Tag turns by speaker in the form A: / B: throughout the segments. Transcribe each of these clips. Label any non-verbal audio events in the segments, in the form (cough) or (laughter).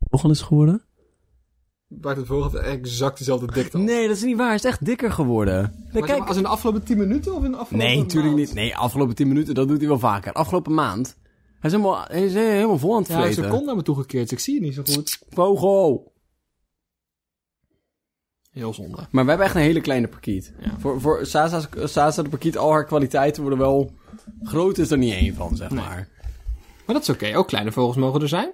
A: vogel is geworden?
B: Baart het vogel heeft exact dezelfde dikte. als.
A: Nee, dat is niet waar. Hij is echt dikker geworden. Nee,
B: Maar
A: kijk.
B: Als in de afgelopen 10 minuten of in de afgelopen
A: Nee, natuurlijk
B: maand?
A: niet. Nee, afgelopen 10 minuten, dat doet hij wel vaker. Afgelopen maand. Hij is helemaal, hij is eh, helemaal vol aan het
B: Ja, hij is
A: vreten.
B: zijn kont naar me toegekeerd, dus ik zie het niet zo goed.
A: Vogel.
B: Heel zonde.
A: Maar we hebben echt een hele kleine parkiet.
B: Ja.
A: Voor, voor Sasa's, Sasa de parkiet, al haar kwaliteiten worden wel... Groot is er niet één van, zeg
B: Nee.
A: maar.
B: Maar dat is oké. Ook kleine vogels mogen er zijn.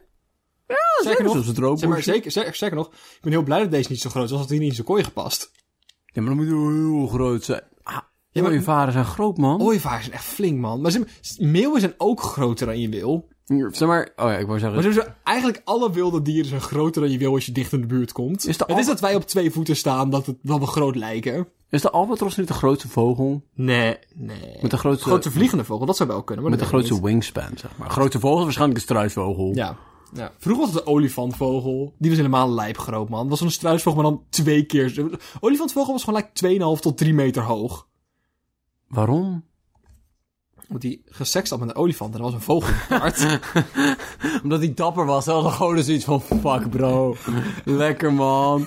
A: Ja,
B: zeker nog.
A: Zoals het
B: Zeg maar,
A: roodborstje.
B: zeker, zeker, zeker nog, ik ben heel blij dat deze niet zo groot is, als had hij niet in zijn kooi gepast.
A: Ja, maar dan moet hij heel groot zijn. Ah, ja, Oh.
B: maar-
A: je vader zijn groot, man.
B: Ooievaars zijn echt flink, man. Maar zeg maar, s- meeuwen zijn ook groter dan je wil.
A: Hier, Zeg maar... Oh ja, ik wou zeggen...
B: Maar zeg maar, eigenlijk alle wilde dieren zijn groter dan je wil als je dicht in de buurt komt.
A: Is de
B: het is
A: al-
B: dat wij op twee voeten staan, dat, het, dat we groot lijken.
A: Is de albatros niet de grootste vogel?
B: Nee, nee.
A: Met de grootste...
B: grote vliegende vogel, dat zou wel kunnen. Maar
A: Met de
B: dat weet ik
A: grootste wingspan, zeg maar. Grote vogel is waarschijnlijk een struisvogel.
B: niet. Ja. ja. Vroeger was het de olifantvogel. Die was helemaal lijpgroot, man. Dat was een struisvogel, maar dan twee keer... zo- Olifantvogel was gewoon like 2,5 tot 3 meter hoog.
A: Waarom?
B: Want die gesext had met een olifant en dat was een vogelpaard.
A: (laughs) Omdat hij dapper was. Hij had gewoon zoiets van, fuck bro. Lekker man.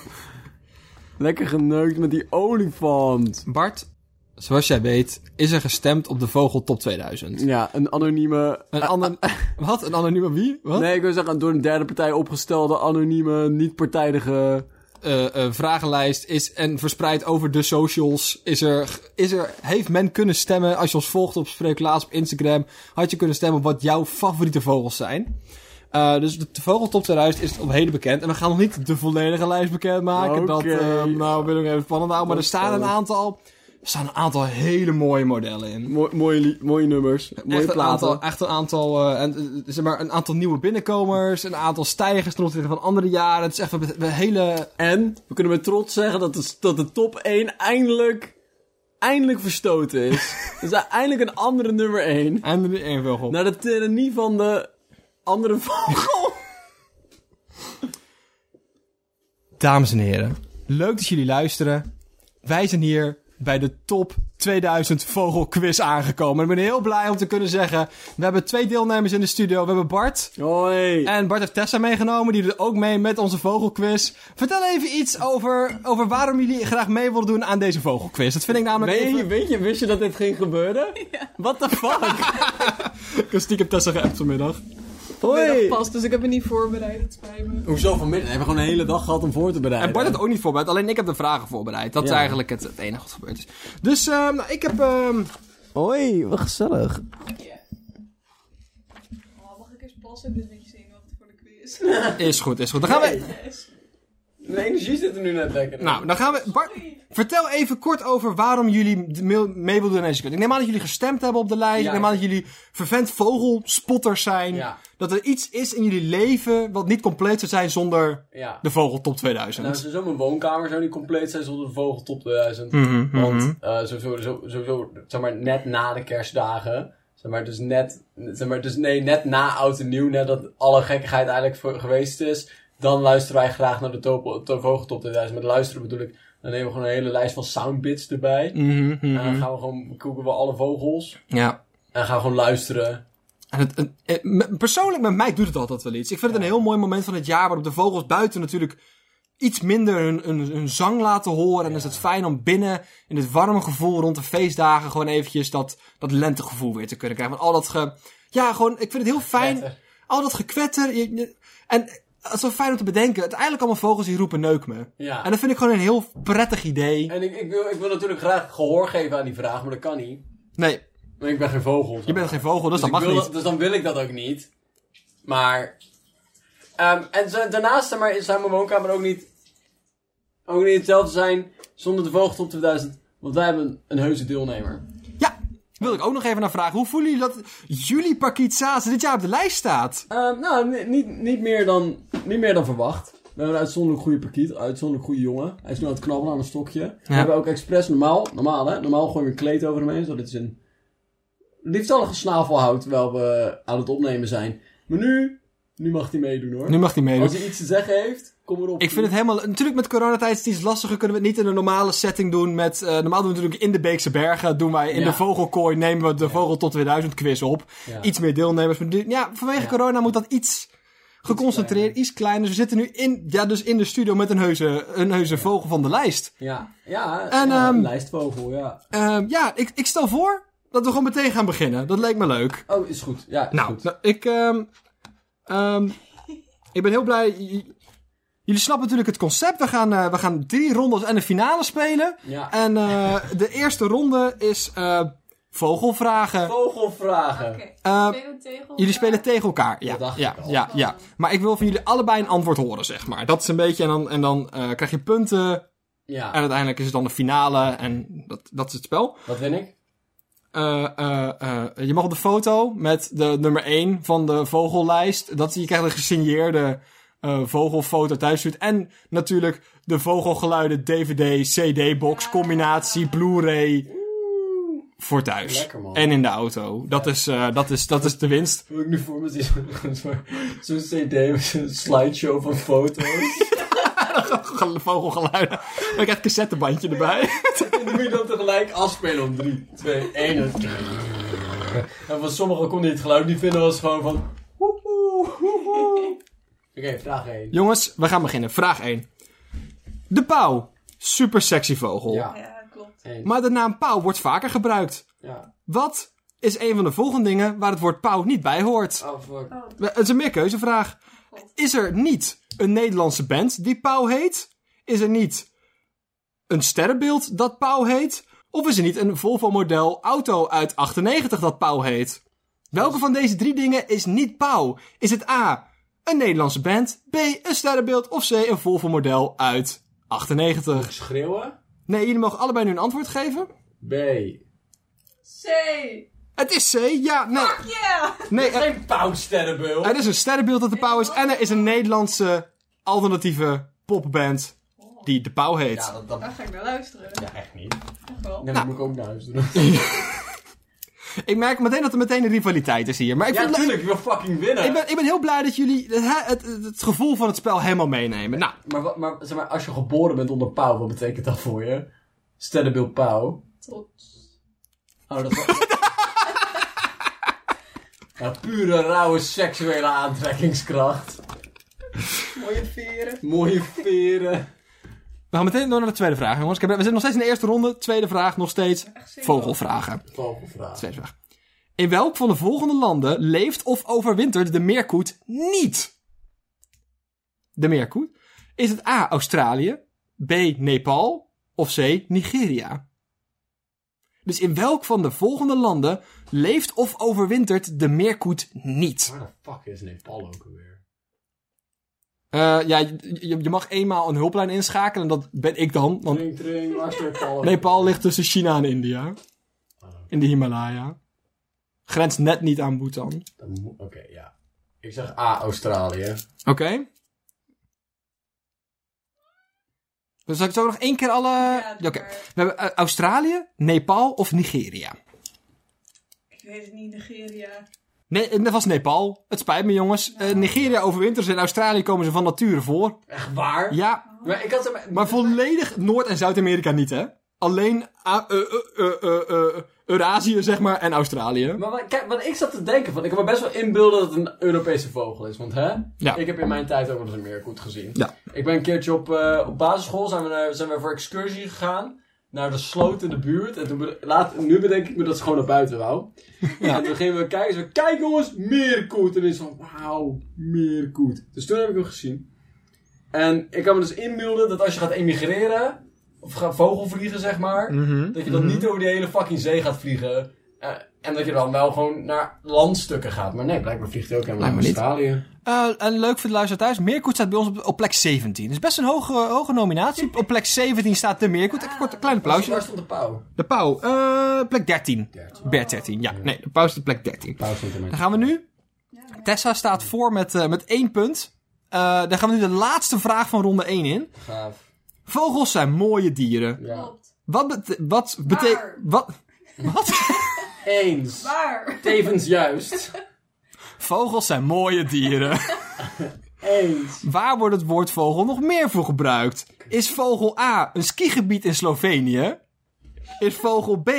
A: Lekker geneukt met die olifant.
B: (laughs) Bart, zoals jij weet, is er gestemd op de Vogel Top 2000.
A: Ja, een anonieme...
B: Een ander... (laughs) Wat? Een anonieme wie? Wat?
A: Nee, ik wil zeggen, een door een derde partij opgestelde, anonieme, niet-partijdige...
B: Eh, eh, vragenlijst is en verspreid over de socials. Is er, is er, heeft men kunnen stemmen, als je ons volgt op Spreek Laatst op Instagram, had je kunnen stemmen op wat jouw favoriete vogels zijn. Eh, dus de Vogel Top 2000 is op heden bekend. En we gaan nog niet de volledige lijst bekendmaken. Dat
A: Oké.
B: eh, nou, wil ik even spannend houden. Maar er staan een aantal, er staan een aantal hele mooie modellen in.
A: Mooi, mooie, li- mooie nummers, mooie
B: Echt een,
A: platen.
B: aantal, echt een aantal, eh, en, eh, zeg maar, een aantal nieuwe binnenkomers, een aantal stijgers ten opzichte van andere jaren. Het is echt een, een hele...
A: En we kunnen met trots zeggen dat de, dat de top 1 eindelijk, eindelijk verstoten (laughs) is. dus eindelijk een andere nummer 1.
B: En er één vogel.
A: Naar de tyrannie van de andere
B: (laughs)
A: vogel.
B: Dames en heren, leuk dat jullie luisteren. Wij zijn hier bij de top 2000 vogelquiz aangekomen. Ik ben heel blij om te kunnen zeggen, we hebben twee deelnemers in de studio. We hebben Bart
A: Hoi.
B: en Bart heeft Tessa meegenomen. Die doet ook mee met onze vogelquiz. Vertel even iets over, over waarom jullie graag mee willen doen aan deze vogelquiz. Dat vind ik namelijk
A: Weet je,
B: even...
A: weet je, wist je dat dit ging gebeuren?
B: (laughs)
A: What the fuck?
B: Ik heb stiekem Tessa geappt vanmiddag.
A: Hoi.
C: Pas, dus ik heb me niet voorbereid, het spijt me.
A: Hoezo vanmiddag? We hebben gewoon een hele dag gehad om voor te bereiden.
B: En Bart had ook niet voorbereid, alleen ik heb de vragen voorbereid. Dat is
A: Ja.
B: eigenlijk het, het enige wat gebeurd is. Dus ehm, nou, ik heb... ehm,
A: Hoi, wat gezellig.
C: Oh, mag ik eens passen? Dit vind ik zenuwachtig voor de quiz.
B: Is goed, is goed. Dan gaan we...
C: Yes.
A: Mijn energie zit er nu net lekker in.
B: Nou, dan gaan we... Bart, vertel even kort over waarom jullie de- mee mee wilden doen aan deze quiz. Ik neem aan dat jullie gestemd hebben op de lijst.
A: Ja.
B: Ik neem aan dat jullie vervent vogelspotters zijn.
A: Ja.
B: Dat er iets is in jullie leven wat niet compleet zou zijn zonder
A: Ja.
B: de Vogeltop
A: Nou,
B: 2000.
A: sowieso mijn woonkamer zou niet compleet zijn zonder de vogeltop 2000.
B: Mhm,
A: Want eh, sowieso, zo- sowieso, zeg maar, net na de kerstdagen. Zeg maar, dus net, zeg maar, dus nee, net na oud en nieuw, net dat alle gekkigheid eigenlijk voor- geweest is. Dan luisteren wij graag naar de, top, de vogeltop 2000. Met luisteren bedoel ik, dan nemen we gewoon een hele lijst van soundbits erbij.
B: Mhm, mhm.
A: En dan gaan we gewoon, koeken we alle vogels.
B: Ja.
A: En dan gaan we gewoon luisteren.
B: En het, het- het- me- persoonlijk met mij doet het altijd wel iets. Ik vind het een heel mooi moment van het jaar waarop de vogels buiten natuurlijk iets minder hun, hun, hun zang laten horen. En dan is het fijn om binnen in dit warme gevoel rond de feestdagen gewoon eventjes dat, dat lentegevoel weer te kunnen krijgen. Want al dat ge... Ja, gewoon, ik vind het heel fijn.
A: Gekwetter.
B: Al dat gekwetter. je- je- en het is wel fijn om te bedenken. Uiteindelijk allemaal vogels die roepen neuk me.
A: Ja.
B: En dat vind ik gewoon een heel prettig idee.
A: En ik, ik, wil, ik wil natuurlijk graag gehoor geven aan die vraag, maar dat kan niet.
B: Nee,
A: Maar ik ben geen vogel. zeg
B: je
A: maar.
B: bent geen vogel, dus,
A: Dus,
B: dat mag
A: ik wil
B: niet.
A: dat- dus dan wil ik dat ook niet. Maar. ehm, en zo- daarnaast zeg maar, zou mijn woonkamer ook niet, ook niet hetzelfde zijn zonder de voogd op 2000. Want wij hebben een, een heuse deelnemer.
B: Ja, wil ik ook nog even naar vragen. Hoe voelen jullie dat jullie Parkiet Sazen dit jaar op de lijst staat?
A: Ehm, nou, ni- niet, niet, meer dan, niet meer dan verwacht. We hebben een uitzonderlijk goede parkiet, een uitzonderlijk goede jongen. Hij is nu aan het knabbelen aan een stokje. We hebben ook expres normaal, normaal hè, normaal gooien we een kleed over hem heen, zodat hij zijn liefdallige snavel houdt terwijl we eh, aan het opnemen zijn. Maar nu, nu mag hij meedoen hoor.
B: Nu mag hij meedoen.
A: Als hij iets te zeggen heeft, kom erop.
B: Ik vind het helemaal... Natuurlijk met coronatijd is het iets lastiger. Kunnen we het niet in een normale setting doen met... eh, normaal doen we natuurlijk in de Beekse Bergen. Doen wij in
A: Ja.
B: de vogelkooi nemen we de Vogel tot 2000 quiz op.
A: Ja.
B: Iets meer deelnemers. Maar nu- ja, vanwege
A: Ja.
B: corona moet dat iets... geconcentreerd, iets kleiner. Dus we zitten nu in, ja, dus in de studio met een heuse, een heuse vogel van de lijst.
A: Ja, ja,
B: En,
A: ja,
B: ehm,
A: lijstvogel, ja.
B: Ehm, ja, ik, ik stel voor dat we gewoon meteen gaan beginnen. Dat leek me leuk.
A: Oh, is goed. Ja, is
B: Nou,
A: goed.
B: nou, ik, ehm, ehm, ik ben heel blij. J- j- Jullie snappen natuurlijk het concept. We gaan, eh, we gaan drie rondes en een finale spelen.
A: Ja.
B: En eh,
A: (laughs)
B: de eerste ronde is eh, vogelvragen.
A: Vogelvragen.
C: Oké.
B: Eh,
C: spelen tegel.
B: jullie spelen tegen elkaar. Ja,
A: Dat dacht
B: ja,
A: ik al.
B: ja, ja. Maar ik wil van jullie allebei een antwoord horen, zeg maar. Dat is een beetje. En dan, en dan eh, krijg je punten.
A: Ja,
B: En uiteindelijk is het dan de finale. En dat, dat is het spel.
A: wat win ik?
B: Eh, eh, eh, je mag op de foto met de nummer 1 van de vogellijst. Dat, je krijgt een gesigneerde eh, vogelfoto thuisstuurt. En natuurlijk de vogelgeluiden DVD,
A: Ah.
B: CD-box, combinatie, Blu-ray. Voor thuis.
A: Lekker, man.
B: En in de auto. Dat is, eh, dat, is, dat is de winst.
A: Wil ik nu voor me zien zo'n- (laughs) zo'n- zo'n cd of zo'n slideshow van foto's?
B: Vogelgeluiden. Maar ik heb het cassettebandje erbij.
A: (laughs)
B: (laughs)
A: En dan moet je dan tegelijk afspelen om 3, 2, 1 en... En van sommigen kon die het geluid niet vinden, was gewoon van... woehoe, woehoe. (laughs) Oké, vraag 1.
B: Jongens, we gaan beginnen. Vraag 1. De pauw. Super sexy vogel.
A: Ja,
C: Ja, klopt.
A: één.
B: Maar de naam pauw wordt vaker gebruikt.
A: Ja.
B: Wat is een van de volgende dingen waar het woord pauw niet bij hoort?
A: Oh, fuck.
C: Oh,
B: Het is een meerkeuzevraag. Is er niet een Nederlandse band die pauw heet? Is er niet een sterrenbeeld dat pauw heet? Of is er niet een Volvo-model auto uit 98 dat pauw heet? Welke van deze drie dingen is niet pauw? Is het A, een Nederlandse band, B, een sterrenbeeld of C, een Volvo-model uit 98?
A: Schreeuwen?
B: Nee, jullie mogen allebei nu een antwoord geven.
A: B.
C: C.
B: Het is C, ja, nee.
C: Yeah!
B: Nee, eh,
A: Geen pauwsterrenbeul.
B: Er is een sterrenbeeld dat de Pauw is. En er is een Nederlandse alternatieve popband die de Pauw heet.
A: Ja, dat, dat...
C: Daar ga ik naar luisteren.
A: Ja, echt niet.
C: Echt wel.
A: Nee, dat moet ik ook naar huis doen.
B: Ik merk meteen dat er meteen een rivaliteit is hier. Maar ik,
A: Ja,
B: vind het leuk.
A: natuurlijk, je wil fucking winnen.
B: ik, ben, ik ben heel blij dat jullie het, het, het gevoel van het spel helemaal meenemen. Nou,
A: Maar, wat- maar, zeg maar, als je geboren bent onder pauw, wat betekent dat voor je? Sterrenbeeld pauw.
C: Trots.
A: Oh, dat was... ja, pure, rauwe seksuele aantrekkingskracht.
C: Mooie veren.
A: Mooie veren.
B: we gaan meteen door naar de tweede vraag, jongens. Ik heb- we zitten nog steeds in de eerste ronde. Tweede vraag, nog steeds
C: Echt zeker.
B: vogelvragen.
A: Vogelvraag.
B: Tweede vraag. In welk van de volgende landen leeft of overwintert de meerkoet niet? De meerkoet. Is het A. Australië, B. Nepal of C. Nigeria? Dus in welk van de volgende landen leeft of overwintert de meerkoet niet?
A: Waar de fuck is Nepal ook alweer?
B: Eh, ja, je, je mag eenmaal een hulplijn inschakelen en dat ben ik dan. Want
A: Tring, tring, waar is Nepal? ook?
B: Nepal ligt tussen China en India. In de Himalaya. Grenst net niet aan Bhutan.
A: Dan moet- Oké, ja. Ik zeg A, Australië.
B: Oké. Dus zal ik zo nog één keer alle...
C: Ja,
B: Oké.
C: doe
B: We
C: maar.
B: hebben eh, Australië, Nepal of Nigeria?
C: Ik weet het niet, Nigeria.
B: Nee, eh, dat was Nepal. Het spijt me jongens. Eh, Nigeria overwintert en in Australië komen ze van nature voor.
A: Echt waar?
B: Ja,
A: Maar ik had zeg maar...
B: maar volledig Noord- en Zuid-Amerika niet hè. Alleen ah, eh, eh, eh, eh, eh, Eurasië zeg maar en Australië.
A: Maar wat, kijk, wat ik zat te denken van, ik kan me best wel inbeelden dat het een Europese vogel is. Want hè,
B: Ja.
A: ik heb in mijn tijd ook wel eens een meerkoet gezien.
B: Ja.
A: Ik ben een keertje op, eh, op basisschool, zijn we, naar- zijn we voor excursie gegaan. Naar de sloot in de buurt. En toen be- laat, nu bedenk ik me dat ze gewoon naar buiten wou. En toen gingen we kijken. Ze kijk jongens, meerkoet. En is van, wauw, meerkoet. Dus toen heb ik hem gezien. En ik kan me dus inbeelden dat als je gaat emigreren... Of gaat vogelvliegen, zeg maar.
B: Mhm,
A: Dat je dan niet over die hele fucking zee gaat vliegen. eh, en dat je dan wel gewoon naar landstukken gaat. Maar nee, blijkbaar vliegt hij ook helemaal naar
B: Blijkbaar niet.
A: Australië.
B: Eh, en leuk voor de luisteraar thuis. Meerkoet staat bij ons op, op plek 17. Dat is best een hoge, hoge nominatie. Op plek 17 staat de Meerkoet. Even kort een klein applausje.
A: Waar stond de pauw?
B: De pauw, eh, plek 13.
A: Dertien.
B: Bert 13, ja. Nee, de pauw is de plek 13.
A: Pauw stond in mijn...
B: Dan gaan we nu...
C: Ja,
B: Tessa staat voor met, eh, met één punt. Eh dan gaan we nu de laatste vraag van ronde 1 in.
A: Gaaf.
B: Vogels zijn mooie dieren.
A: Ja.
C: klopt.
B: Wat, bete- wat betekent...
C: Waar?
B: Wat? Wat? (laughs)
A: Eens.
C: Waar?
A: Tevens juist.
B: Vogels zijn mooie dieren.
A: Eens.
B: Waar wordt het woord vogel nog meer voor gebruikt? Is vogel A een skigebied in Slovenië? Is vogel B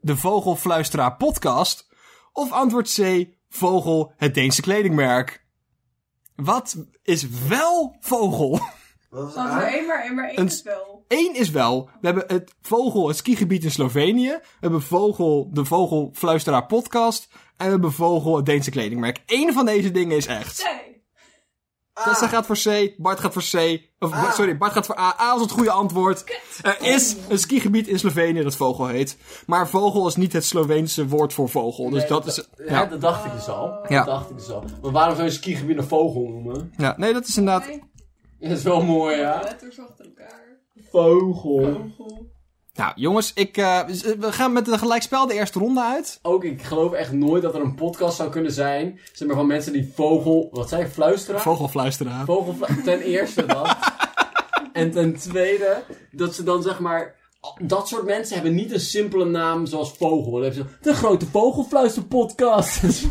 B: de Vogelfluisteraar podcast? Of antwoord C, vogel het Deense kledingmerk? Wat is wel vogel? (laughs)
D: Wat was
C: Want er
D: A?
C: één maar één maar één
B: Een
C: is wel.
B: Eén is wel, we hebben het vogel, het skigebied in Slovenië. We hebben vogel, de vogelfluisteraar podcast. En we hebben vogel, het Deense kledingmerk. Eén van deze dingen is echt.
C: Nee.
B: Tessa Dus gaat voor C, Bart gaat voor C. Of,
D: Ah.
B: Sorry, Bart gaat voor A. A was het goede antwoord.
C: Kut.
B: Er is een skigebied in Slovenië dat vogel heet. Maar vogel is niet het Sloveense woord voor vogel. Dus
A: Nee,
B: dat is.
A: Ja,
B: Ja,
A: dat dacht ik dus al.
B: Ja.
A: Dat dacht ik dus al. Maar waarom zou je een skigebied een vogel noemen? (laughs)
B: ja, nee, dat is inderdaad.
C: Nee.
A: Dat is wel mooi, ja.
C: Letters achter elkaar.
A: Vogel.
C: Vogel.
B: Nou, jongens, ik, eh, we gaan met een gelijkspel de eerste ronde uit.
A: Ook, ik geloof echt nooit dat er een podcast zou kunnen zijn. Zeg maar van mensen die vogel. Wat zei je? Fluisteren?
B: Vogelfluisteraar.
A: Vogelvla-
B: (laughs)
A: ten eerste dat. en ten tweede, dat ze dan zeg maar... Dat soort mensen hebben niet een simpele naam zoals vogel. Dan hebben ze de grote vogelfluisterpodcast.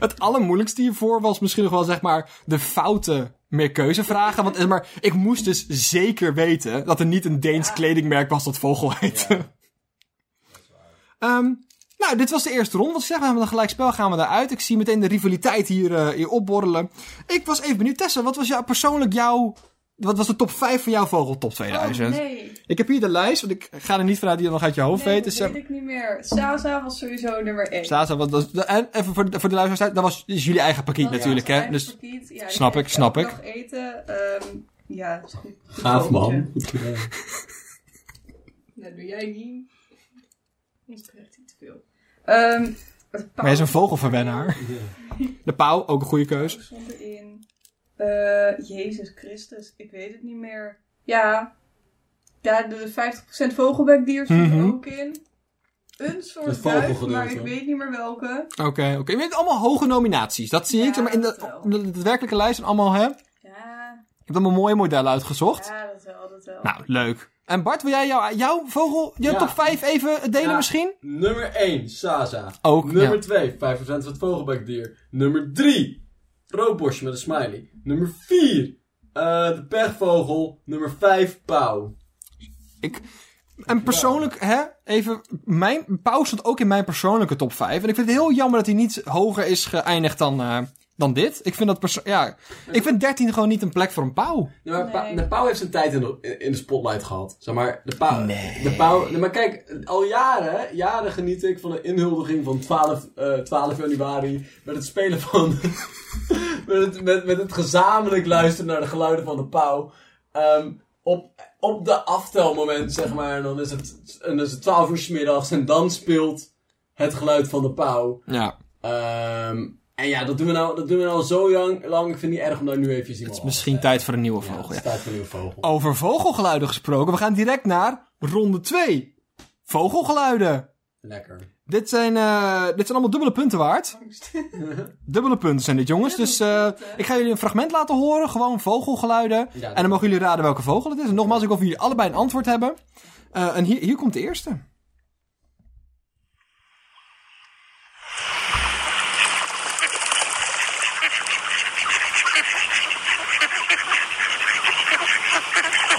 B: Het allermoeilijkste hiervoor was misschien nog wel zeg maar de foute meerkeuzevragen. Want eh, maar, ik moest dus zeker weten dat er niet een Deens kledingmerk was dat vogel heette. Ehm, nou, dit was de eerste ronde. Wat ik zeg, we hebben een gelijkspel, gaan we daaruit. Ik zie meteen de rivaliteit hier, eh, hier opborrelen. Ik was even benieuwd, Tessa, wat was jou, persoonlijk jouw... Wat was de top 5 van jouw vogeltop 2000?
C: Oh, nee.
B: Ik heb hier de lijst, want ik ga er niet vanuit die je nog uit je hoofd
C: Nee,
B: weet.
C: dat
B: Dus,
C: weet ik niet meer. Saza was sowieso nummer 1.
B: Staat er wat, dat- en even voor de, voor de luisteraars, dat was is jullie eigen pakket
C: Oh,
B: natuurlijk, hè? Dus
C: ja,
B: Snap ik,
C: kreeg
B: snap
C: elke
B: ik.
C: dag eten. ehm, ja, dat is goed.
A: Gaaf man.
C: Dat doe jij niet. Ons krijgt hij te veel. Ehm, het
B: Maar hij is een vogelverwennaar. De pauw, ook een goede keus.
C: Zonder in. Eh, Jezus Christus, ik weet het niet meer. Ja, ja de 50% vogelbekdier zit
B: Mhm.
C: er ook in. Een
A: Het
C: soort duif,
A: vogelgedeelte.
C: maar ik weet niet meer welke.
B: Oké, oké. Je bent allemaal hoge nominaties, dat zie ik.
C: Ja,
B: maar in
C: dat
B: de,
C: wel.
B: de, de werkelijke lijst zijn allemaal, hè? Ik
C: Ja,
B: heb allemaal mooie modellen uitgezocht.
C: ja dat wel, dat wel.
B: Nou, leuk. En Bart, wil jij jou- jouw vogel, jouw
A: Ja.
B: top 5 even delen
A: Ja.
B: misschien?
A: Nummer 1, Sasa.
B: Ook,
A: Nummer
B: ja.
A: 2, 5% van het vogelbekdier. Nummer 3, roodborstje met een smiley. Nummer 4, eh, de pechvogel. Nummer 5, pauw.
B: Ik, en persoonlijk, hè, even, mijn pauw stond ook in mijn persoonlijke top 5. En ik vind het heel jammer dat hij niet hoger is geëindigd dan, eh, dan dit. Ik vind dat perso- ja, ik vind 13 gewoon niet een plek voor een pauw.
A: Ja, maar Pa-
C: Nee.
A: de pauw heeft zijn tijd in de, in- in de spotlight gehad. Zeg maar, de pauw... De pauw nee, maar kijk, al jaren, jaren geniet ik van de inhuldiging van 12, eh, 12 januari... met het spelen van... (laughs) met, het, met, met het gezamenlijk luisteren naar de geluiden van de pauw... Ehm, op, op de aftelmoment, zeg maar. En dan is het, en dan is het 12 uur 's middags en dan speelt het geluid van de pauw...
B: Ja.
A: Ehm, en ja, dat doen we nou, dat doen we nou al zo lang, lang. Ik vind het niet erg om daar nu even iemand af te
B: Misschien tijd voor een nieuwe vogel,
A: het
B: ja.
A: staat voor een vogel.
B: Over vogelgeluiden gesproken, we gaan direct naar ronde 2. Vogelgeluiden.
A: Lekker.
B: Dit zijn, eh, dit zijn allemaal dubbele punten waard.
C: Angst.
B: Dubbele punten zijn dit, jongens. Dus eh, ik ga jullie een fragment laten horen, gewoon vogelgeluiden.
A: Ja,
B: En dan mogen jullie raden welke vogel het is. En nogmaals, ik hoop dat jullie allebei een antwoord hebben. Eh, en hier, hier komt de eerste.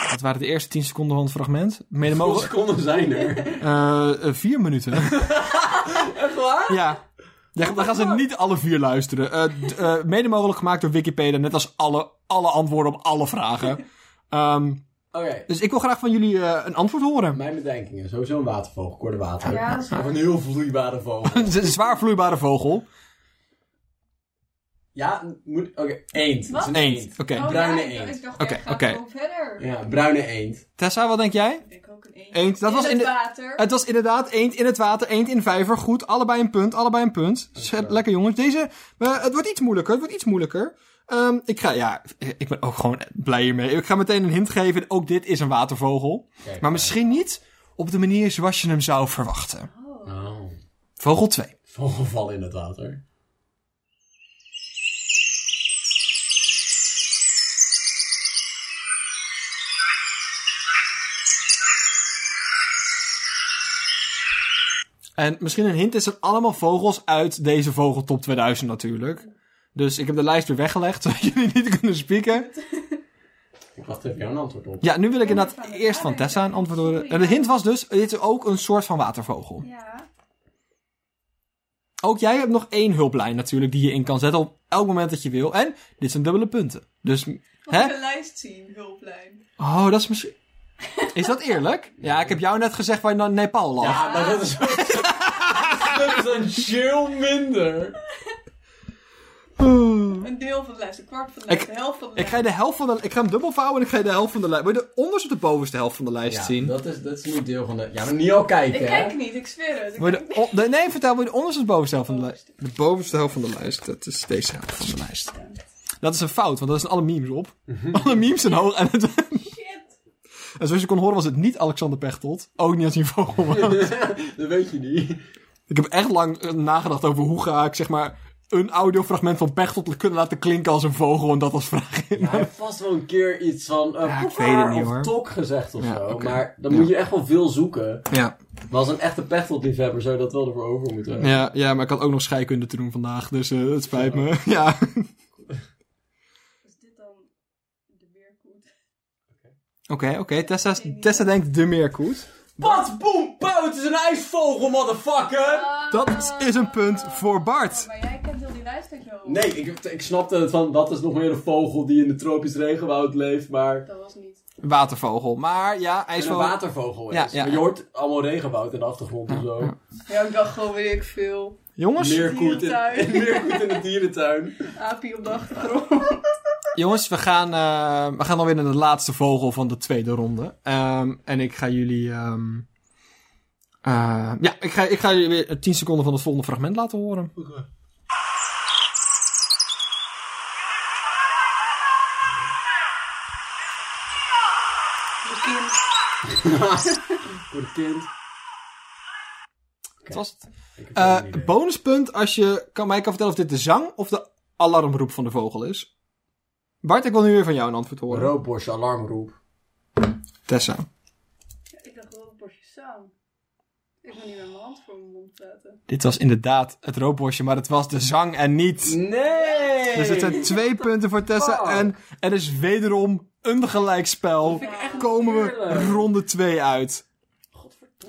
B: Dat waren de eerste 10 seconden van het fragment. Mede
A: Hoeveel
B: mogen.
A: seconden zijn er? (laughs)
B: eh, eh, vier minuten.
A: Echt waar?
B: Ja. Ja, dan gaan ze niet alle vier luisteren. Eh, d- eh, mede mogelijk gemaakt door Wikipedia, net als alle, alle antwoorden op alle
A: (laughs)
B: vragen. Ehm,
A: Oké.
B: dus ik wil graag van jullie eh, een antwoord
A: (laughs)
B: horen.
A: Mijn bedenkingen. Sowieso een watervogel. Korte water.
C: Ja, dat is
A: Of
C: waar.
A: een heel vloeibare vogel.
B: Het is een zwaar vloeibare vogel.
A: ja, moet... Oké, eend. Het is een
C: Wat?
B: eend.
A: eend.
B: Oké.
C: Oh,
A: bruine
C: ja, ik dacht-
A: eend.
C: Ik dacht,
B: Oké,
C: ja, ga
B: oké.
C: gewoon verder.
A: Ja, bruine eend.
B: Tessa, wat denk jij?
C: Ik denk ook een eend.
B: Eend, dat was in
C: het
B: de...
C: water.
B: Het was inderdaad eend in het water, eend in vijver. Goed, allebei een punt, allebei een punt. Scherp, Lekker jongens. Deze, eh, het wordt iets moeilijker, het wordt iets moeilijker. Ehm, ik ga, ja, ik ben ook gewoon blij hiermee. Ik ga meteen een hint geven, ook dit is een watervogel.
A: Kijk,
B: Maar misschien niet op de manier zoals je hem zou verwachten.
A: Oh.
B: Vogel 2.
A: Vogelval in het water.
B: En misschien een hint is er allemaal vogels uit deze vogeltop 2000 natuurlijk. Dus ik heb de lijst weer weggelegd, (laughs) zodat jullie niet kunnen spieken.
A: Ik wacht even jouw antwoord op.
B: Ja, nu wil ik inderdaad eerst van Tessa een antwoord horen. En de hint was dus, dit is ook een soort van watervogel.
C: Ja.
B: Ook jij hebt nog één hulplijn natuurlijk die je in kan zetten op elk moment dat je wil. En dit zijn dubbele punten. Dus,
C: Mag
B: hè?
C: ik een lijst zien, hulplijn?
B: Oh, dat is misschien... Is dat eerlijk? Ja, ik heb jou net gezegd waar je naar Nepal lag.
A: Ja, maar dat is... (laughs) dat is een chill minder.
C: Een deel van de lijst, een kwart van
B: Hm?
C: de
B: Ik-
C: lijst, de helft van de
B: Ik
C: lijst.
B: ga, je de helft van de, ik ga hem dubbel vouwen en ik ga je de helft van de lijst... Wil je de onderste of de bovenste helft van de lijst
A: Ja,
B: zien?
A: dat is, dat is nu deel van de... Ja, maar niet al kijken,
C: Ik
A: hè?
C: kijk niet, ik zweer het. Ik
B: Wil je
C: kijk
B: de, on- de- nee, vertel, wil je de onderste of de bovenste helft van de lijst?
C: Bovenste.
B: De bovenste helft van de lijst, dat is deze helft van de lijst. Mhm.
C: niet.
B: Dat is een fout, want dat zijn alle memes op. Alle memes zijn hoog. (laughs) En, het-
C: Shit.
B: en zoals je kon horen was het niet Alexander Pechtold. Ook niet als hij een vogel was.
A: dat weet je niet.
B: Ik heb echt lang eh, nagedacht over hoe ga ik zeg maar een audiofragment van Pechtold kunnen laten klinken als een vogel en dat als vraag (laughs) in.
A: Ja, hij heeft vast wel een keer iets van eh
B: Ja, ik
A: poekaar
B: weet het niet,
A: of
B: hoor.
A: tok gezegd of
B: Ja,
A: zo.
B: oké.
A: Maar dan
B: Ja.
A: moet je echt wel veel zoeken.
B: Ja.
A: Maar als een echte pechteldiefhebber zou je dat wel ervoor over moeten hebben.
B: Ja, ja, maar ik had ook nog scheikunde te doen vandaag, dus eh, het spijt me. (laughs) Ja. Oké,
C: Is dit dan de weerkoet?
B: oké. Tessa, Tessa denkt de meerkoet.
A: Pat, boem, pauw, het is een ijsvogel, motherfucker!
B: Dat is een punt voor Bart.
C: Oh, Maar jij kent heel die lijst uit je hoofd.
A: Nee, ik, ik snapte het van, dat is nog meer een vogel die in de tropisch regenwoud leeft, maar...
C: Dat was niet.
B: Watervogel. Maar ja,
A: En een
B: ijsvogel.
A: watervogel is.
B: Ja, ja.
A: Maar je hoort allemaal regenwoud in de achtergrond en zo.
C: Ja, ik dacht gewoon, weet ik veel.
B: Jongens,
A: Meerkoet in,
C: dierentuin.
A: (laughs) meerkoet in de
B: (laughs)
A: dierentuin.
C: Apie op de achtergrond.
B: Jongens, we gaan, eh we gaan alweer naar de laatste vogel van de tweede ronde. Ehm, en ik ga jullie. ehm, eh, ja, ik ga, ik ga jullie weer 10 seconden van het volgende fragment laten horen.
C: De kind.
A: Voor het kind.
B: Dat was het.
A: Ik heb
B: Eh,
A: geen idee.
B: bonuspunt als je kan, mij kan vertellen of dit de zang of de alarmroep van de vogel is. Bart, ik wil nu weer van jou een antwoord horen.
A: Roodborst, alarmroep.
B: Tessa.
C: (laughs) Ik dacht wel een bosje zang. Ik wil niet met mijn hand voor mijn mond praten.
B: Dit was inderdaad het roodborstje, maar het was de zang en niet.
A: Nee!
B: Dus het zijn twee punten voor Tessa.
A: fuck?
B: En er is wederom een gelijkspel.
C: Vind ik echt
B: Komen we
A: heerlijk.
B: ronde 2 uit.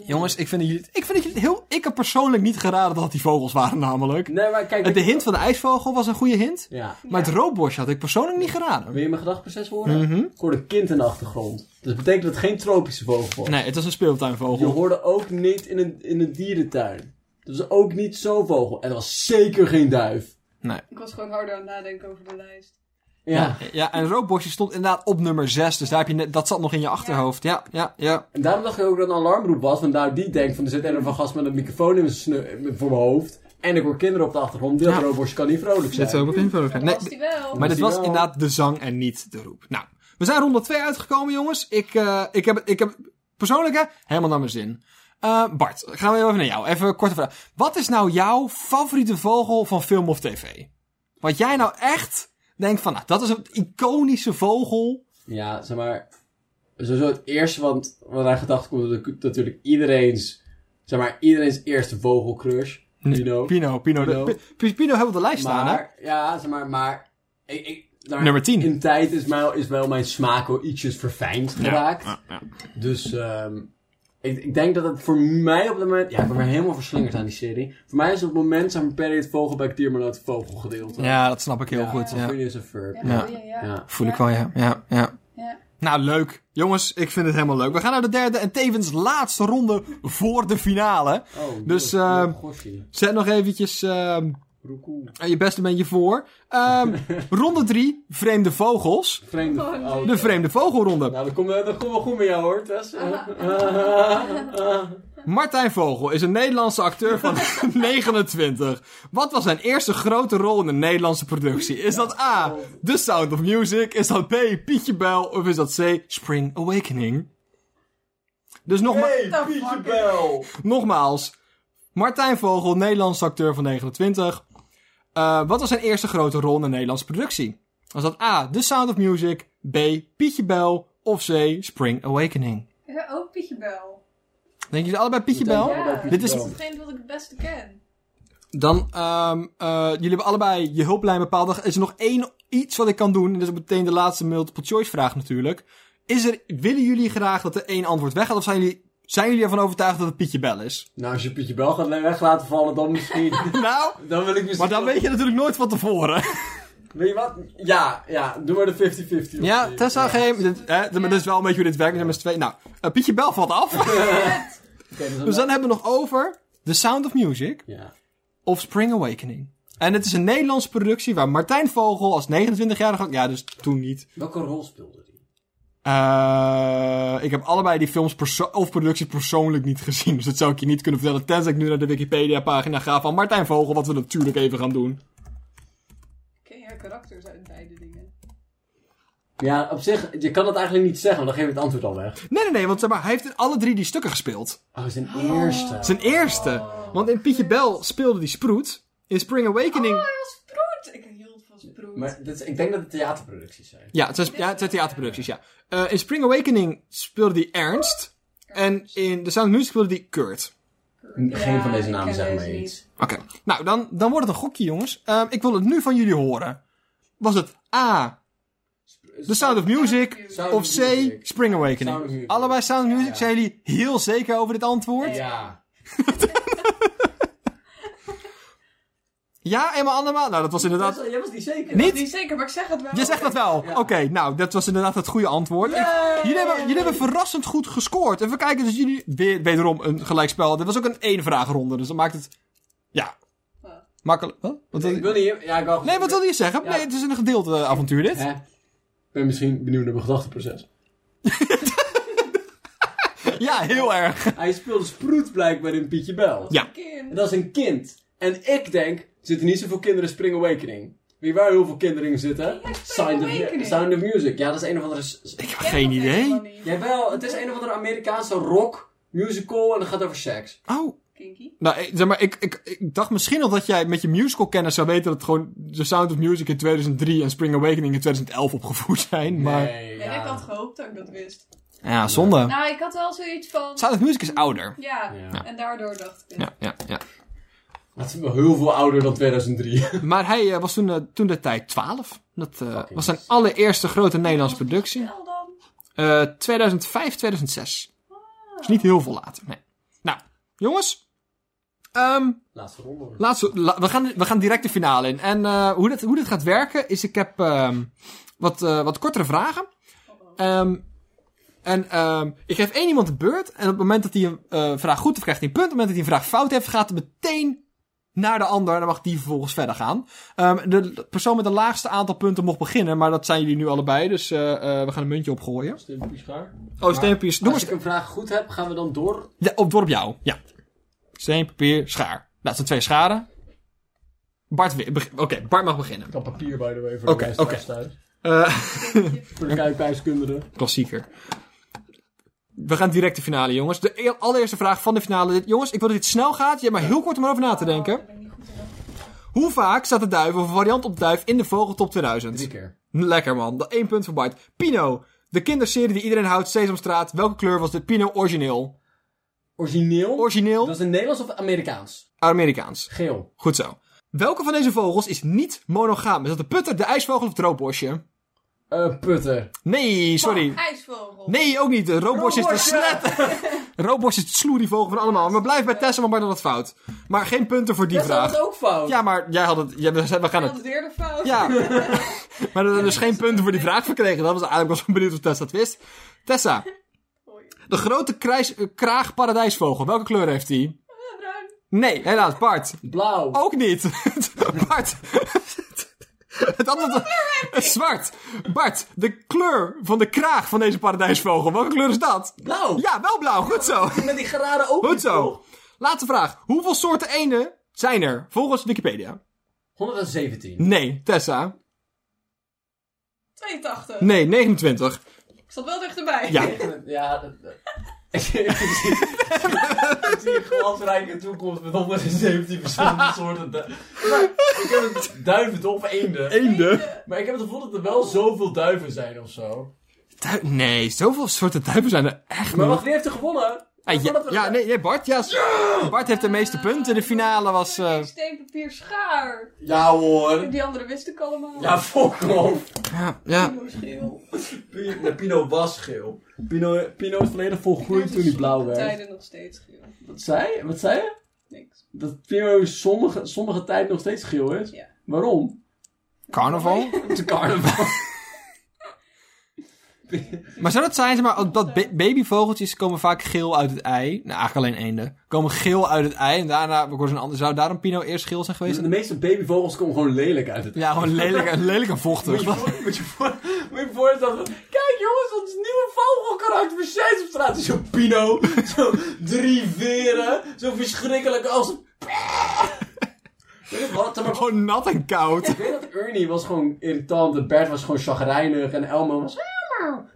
B: Jongens, ik vind, dat jullie, ik vind dat jullie het heel... Ik heb persoonlijk niet geraden dat het die vogels waren namelijk.
A: Nee, maar kijk...
B: De
A: ik-
B: hint van de ijsvogel was een goede hint.
A: Ja.
B: Maar het roodborstje had ik persoonlijk niet geraden.
A: Wil je mijn gedachteproces
B: Mm.
A: horen?
B: Mhm.
A: Ik hoorde een kind in de achtergrond. Dus dat betekent dat het geen tropische vogel was.
B: Nee, het was een
A: Je
B: speeltuinvogel.
A: hoorde ook niet in een, in een dierentuin. Dus ook niet zo'n vogel. En dat was zeker geen duif.
B: Nee.
C: Ik was gewoon harder aan het nadenken over de lijst.
A: Ja.
B: Ja. ja, en roodborstje stond inderdaad op nummer 6. Dus daar heb je net, dat zat nog in je achterhoofd. Ja, ja, ja.
A: En daarom dacht ik ook dat een alarmroep was. Want nou die denkt van er zit een of andere gast met een microfoon in mijn snu- voor mijn hoofd. En ik hoor kinderen op de achtergrond. Dit
B: Ja.
A: roodborstje kan niet vrolijk zijn.
B: Zitten we op info.
C: Dat
B: Nee,
C: was die wel.
B: Maar dit was
A: Dankjewel.
B: inderdaad de zang en niet de roep. Nou, we zijn ronde 2 uitgekomen, jongens. Ik, eh, ik, heb, ik heb persoonlijk hè, helemaal naar mijn zin. Eh, Bart, gaan we even naar jou. Even een korte vraag. Wat is nou jouw favoriete vogel van film of tv? Wat jij nou echt denkt van, nou, dat is een iconische vogel.
A: Ja, zeg maar. Sowieso het eerste want wat aan gedacht komt. dat ik- Natuurlijk iedereen's. Zeg maar iedereen's eerste vogelcrush. You know.
B: Pino, Pino. de-
A: Pino.
B: Pi- Pino, hebben we op de lijst staan, hè?
A: Maar, ja, zeg maar, maar... Ik, ik, daar-
B: Nummer 10.
A: In tijd is, mijn, is wel mijn smaak wel ietsjes verfijnd geraakt. Dus ehm ik, ik denk dat het voor mij op het moment... Ja, ik ben weer helemaal verslingerd aan die serie. Voor mij is het op het moment zo'n period vogelbek dier, maar dat vogelgedeelte.
B: Ja, dat snap ik heel goed.
A: Van
B: Ja.
A: Phineas en Ferb.
C: Ja,
A: Ja.
C: ja. ja. ja.
B: Voel ik wel, ja. ja, ja.
C: ja.
B: Nou, leuk. Jongens, ik vind het helemaal leuk. We gaan naar de derde en tevens laatste ronde voor de finale.
A: Oh,
B: Dus,
A: joh,
B: ehm,
A: joh, Goshie.
B: Zet nog eventjes ehm,
A: Roekoe.
B: je beste bandje voor. (laughs) Ehm, ronde drie, vreemde vogels.
A: Vreemde...
C: Oh, nee.
A: oké.
B: De vreemde vogelronde.
A: Nou, dat komt, dat komt wel goed met jou hoor,
C: (laughs)
A: Tess. Nou,
B: Martijn Vogel is een Nederlandse acteur (laughs) van 29. Wat was zijn eerste grote rol in een Nederlandse productie? Is dat A, The Sound of Music? Is dat B, Pietje Bel? Of is dat C, Spring Awakening? Dus nog maar...
A: Hey,
C: What the
A: Pietje
C: fuck?
A: Bel!
B: Nogmaals, Martijn Vogel, Nederlandse acteur van 29. Eh, wat was zijn eerste grote rol in een Nederlandse productie? Was dat A. The Sound of Music, B. Pietje Bel of C. Spring Awakening?
C: Ja, ook Pietje Bel.
B: Denken jullie allebei Pietje Bel?
C: Ja.
B: Dit is-
C: Dat is hetgeen wat ik het beste ken.
B: Dan, ehm, eh, jullie hebben allebei je hulplijn bepaald. Dan is er nog één iets wat ik kan doen. En dat is meteen de laatste multiple choice vraag natuurlijk. Is er, willen jullie graag dat er één antwoord weggaat? Of zijn jullie Zijn jullie ervan overtuigd dat het Pietje Bel is? (laughs)
A: Nou, als je Pietje Bel gaat weg laten vallen, dan misschien.
B: Nou,
A: dan wil ik misschien.
B: maar dan weet je natuurlijk nooit van tevoren.
A: Weet je wat? Ja, ja, doe maar de 50-50.
B: Ja, Tessa, geen... Dit, hè, dit- maar dit is wel een beetje hoe dit werkt. Er zijn maar twee... Nou, eh, Pietje Bel valt af.
A: Oké, dus dan-
B: Dus dan hebben we nog over The Sound of Music
A: Ja.
B: of Spring Awakening. En het is een Nederlandse productie waar Martijn Vogel als 29-jarige... Ja, dus toen niet.
A: Welke rol speelde die?
B: Eh, ik heb allebei die films perso- of producties persoonlijk niet gezien. Dus dat zou ik je niet kunnen vertellen. Tenzij ik nu naar de Wikipedia-pagina ga van Martijn Vogel. Wat we natuurlijk even gaan doen.
C: Ken je haar karakters uit beide dingen?
A: Ja, op zich, je kan dat eigenlijk niet zeggen, want dan geef je het antwoord al weg.
B: Nee, nee, nee. Want zeg maar, hij heeft in alle drie die stukken gespeeld.
A: Oh, zijn eerste.
B: Zijn eerste. Want in Pietje Bel speelde die Sproet. In Spring Awakening...
C: Oh, hij was Sproet! Ik hield van Sproet.
A: Maar dit is- ik denk dat het theaterproducties zijn.
B: Ja, het zijn, ja, het zijn theaterproducties, ja. Eh, in Spring Awakening speelde die Ernst. En in The Sound of Music speelde die Kurt.
C: Ja,
A: Geen van deze
C: ik
A: namen
C: ken
A: zijn
C: deze
A: mij
C: niet.
A: iets.
B: Oké. Nou, dan, dan wordt het een gokje, jongens. Ehm, ik wil het nu van jullie horen. Was het A, The Sound of Music,
A: Sound of
B: of C,
A: Music.
B: Spring
A: Sound of
B: Awakening?
A: Music.
B: Allebei Sound of Music.
A: Ja.
B: Zijn jullie heel zeker over dit antwoord? Ja,
A: Ja.
B: Emma Annema? Nou, dat was inderdaad...
A: Jij was niet zeker.
B: Niet?
C: Niet zeker, maar ik zeg het wel.
B: Je zegt dat wel. Oké, nou, dat was inderdaad het goede antwoord. Ik- jullie, hebben, jullie hebben verrassend goed gescoord. Even kijken, dus jullie weer wederom een gelijkspel. Dit was ook een één vraagronde, dus dat maakt het. Ja.
C: Ja.
B: Makkelijk. Wat? Wat wil
A: Ik
B: je-
A: wil niet... Ja, ik wou...
B: Nee, wat wilde je zeggen? Nee, het is een gedeelte eh, avontuur dit.
A: Hè? Ik ben misschien benieuwd naar mijn gedachteproces.
B: Ja, heel erg.
A: Hij speelde Sproet blijkbaar in Pietje Bel.
B: Ja.
A: En
C: Kind.
A: dat is een kind. En ik denk, er zitten niet zoveel kinderen in Spring Awakening. Wie waar heel veel kinderen in zitten?
C: Ja, Spring
A: Sound of,
C: Awakening.
A: Sound of Music. Ja, dat is een of andere... s- s-
B: Ik heb geen idee.
A: Jawel, het is een of andere Amerikaanse rock musical en dat gaat over seks.
B: Oh.
C: Kinky.
B: Nou, ik- zeg maar, ik, ik, ik dacht misschien nog dat jij met je musical kennis zou weten dat gewoon The Sound of Music in 2003 en Spring Awakening in 2011 opgevoerd zijn. Maar
A: Nee,
C: En ik had gehoopt dat ik dat wist.
B: ja, zonde.
C: Nou, ik had wel zoiets van.
B: Sound of Music is ouder.
C: Ja,
A: Ja.
C: en daardoor dacht ik. het.
B: Ja, ja, ja.
A: Dat is wel heel veel ouder dan (laughs) 2003.
B: Maar hij eh, was toen, eh, toen de tijd 12. Dat eh,
A: Fucking
B: was zijn allereerste grote Nederlandse productie.
C: Wel dan.
B: Eh, 2005, 2006. Dus niet heel veel later. Nee. Nou, jongens. Ehm,
A: Laatste ronde.
B: laatste, la- we, gaan, we gaan direct de finale in. En eh, hoe, dit, hoe dit gaat werken is: ik heb ehm, wat, eh, wat kortere vragen. Ehm, en ehm, ik geef één iemand de beurt. En op het moment dat hij een eh, vraag goed heeft, krijgt hij een punt. Op het moment dat hij een vraag fout heeft, gaat het meteen naar de ander. En dan mag die vervolgens verder gaan. Ehm, de persoon met het laagste aantal punten mocht beginnen. Maar dat zijn jullie nu allebei. Dus eh, eh, we gaan een muntje opgooien.
A: Stimpje schaar.
B: Oh, steenpapier. Doe maar
A: Als ik een vraag goed heb, gaan we dan door.
B: ja, op dorp jou. Ja. Steen, papier, schaar. Nou, dat zijn twee scharen. Bart, wi- beg- oké, Bart mag beginnen.
A: Ik had papier, by the way, voor
B: Oké,
A: de luisteraars
B: oké.
A: thuis.
B: Eh, (laughs)
A: Voor de kijkwijskundigen.
B: klassieker. We gaan direct de finale, jongens. De e- allereerste vraag van de finale. Dit- jongens, ik wil dat dit snel gaat. Je hebt maar heel kort om over na te denken.
C: Ik Oh, ben niet goed in dat.
B: Hoe vaak staat de duif of een variant op de duif in de Vogeltop
A: Drie
B: 2000?
A: keer.
B: Lekker, man. Dat één punt voor Bart. Pino, de kinderserie die iedereen houdt, Sesamstraat. Welke kleur was dit Pino origineel?
A: Origineel?
B: Origineel?
A: Dat is in Nederlands of Amerikaans?
B: Amerikaans.
A: Geel.
B: Goed zo. Welke van deze vogels is niet monogaam? Is dat de putter, de ijsvogel of het roodborstje?
A: Eh putter.
B: Nee, sorry.
C: Fuck, ijsvogel.
B: Nee, ook niet. De roodborstje is de slet. (laughs) Roodborstje is de sloerievogel van allemaal. Maar blijf bij Tessa, want Bart had het fout. Maar geen punten voor die
A: Dat
B: vraag.
A: is ook fout.
B: Ja, maar jij had het... Ja, we we gaan
C: Dat
B: het...
C: is weer de fout.
B: Ja. maar we hebben dus geen punten voor die vraag verkregen. Dat was eigenlijk was ik benieuwd of Tessa het wist. Tessa,
C: Oei.
B: de grote krijs, eh, kraagparadijsvogel. Welke kleur heeft hij?
C: Ja, bruin.
B: Nee, helaas. Bart.
A: Blauw.
B: Ook niet. (laughs) Bart. (laughs) Het antwoord is zwart. Bart, de kleur van de kraag van deze paradijsvogel. Welke kleur is dat?
A: Blauw.
B: Ja, wel blauw. Goed zo.
A: Met die geraden ook.
B: Goed zo. Laatste vraag. Hoeveel soorten eenden zijn er volgens Wikipedia?
A: 117.
B: Nee, Tessa.
C: 82.
B: Nee, 29.
C: Ik zat wel dichterbij.
B: Ja.
A: Ja, dat... dat- (laughs) Ik zie- ik zie- ik zie een glasrijke toekomst met 117
B: (laughs)
A: verschillende soorten. du- Maar ik heb het duiven of eenden.
B: Eenden?
A: Maar ik heb het gevoel dat er wel zoveel duiven zijn of zo.
B: nee, zoveel soorten duiven zijn er echt
A: Maar
B: niet.
A: wacht, wie heeft er gewonnen?
B: Ah, ja, ja, nee, nee, Bart. Ja, Bart heeft de meeste punten. De finale was... eh,
C: Steen, papier, schaar.
A: Ja hoor.
C: Die andere wist ik allemaal.
A: Ja, fok off.
B: ja, ja.
C: Pino schil.
A: Pino, Pino was geel. Pino, Pino is volledig volgroeid toen hij blauw werd.
C: Tijden nog steeds geel.
A: Wat zei, je? wat zei je?
C: Niks.
A: Dat Pino sommige, sommige tijd nog steeds geel is?
C: Ja.
A: Waarom?
B: Carnaval.
A: Het is carnaval.
B: Maar zou dat zijn, zeg maar, dat ba- babyvogeltjes komen vaak geel uit het ei. Nou, eigenlijk alleen eenden. Komen geel uit het ei en daarna worden ze een ander. Zou daarom Pino eerst geel zijn
A: (laughs)
B: geweest?
A: De meeste babyvogels komen gewoon lelijk uit het
B: Ja, gewoon lelijk, en- lelijk en vochtig.
A: Moet je voor- moet je voor- moet je voorstellen. dat- Kijk jongens, ons nieuwe vogelkarakter voor Sijs op straat. is Zo'n pino, zo'n drie veren, zo verschrikkelijk als een... Weet je wat, zeg maar,
B: Gewoon nat en koud.
A: ik weet dat Ernie was gewoon irritant en Bert was gewoon chagrijnig en Elmo was... "Ah,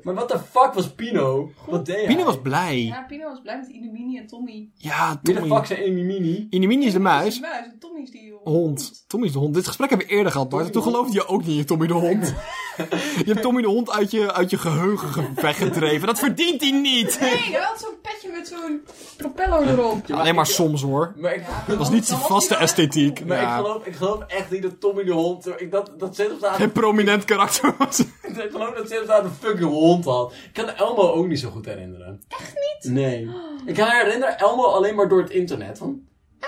A: Maar wat de fuck was Pino? Wat deed hij?
B: Pino was blij.
C: Ja, Pino was blij met Inomini en Tommy.
B: Ja,
A: Wie de fuck
B: Tommy.
A: zijn Amy Mini?
B: Inimini is de
C: Tommy is
B: muis.
C: de muis en Tommy is die hond.
B: Hond. Tommy is de hond. Dit gesprek hebben we eerder gehad, Bart. En Toen geloofde je ook niet in Tommy de hond. Je hebt Tommy de hond uit je, uit je geheugen ge- weggedreven. Dat verdient hij niet.
C: Nee, hij had zo'n petje met zo'n propeller erop.
B: Alleen maar soms hoor.
A: Maar ik...
B: Dat was niet zijn vaste esthetiek.
A: Maar
B: Ja.
A: ik, geloof, ik geloof echt niet dat Tommy de hond... Ik, dat, dat zit op de
B: Geen prominent karakter was.
A: (laughs) Ik geloof dat ze inderdaad een fucking hond had. Ik kan Elmo ook niet zo goed herinneren. Echt niet? Nee. Ik kan haar herinneren Elmo alleen maar door het internet. Van,
B: Ja,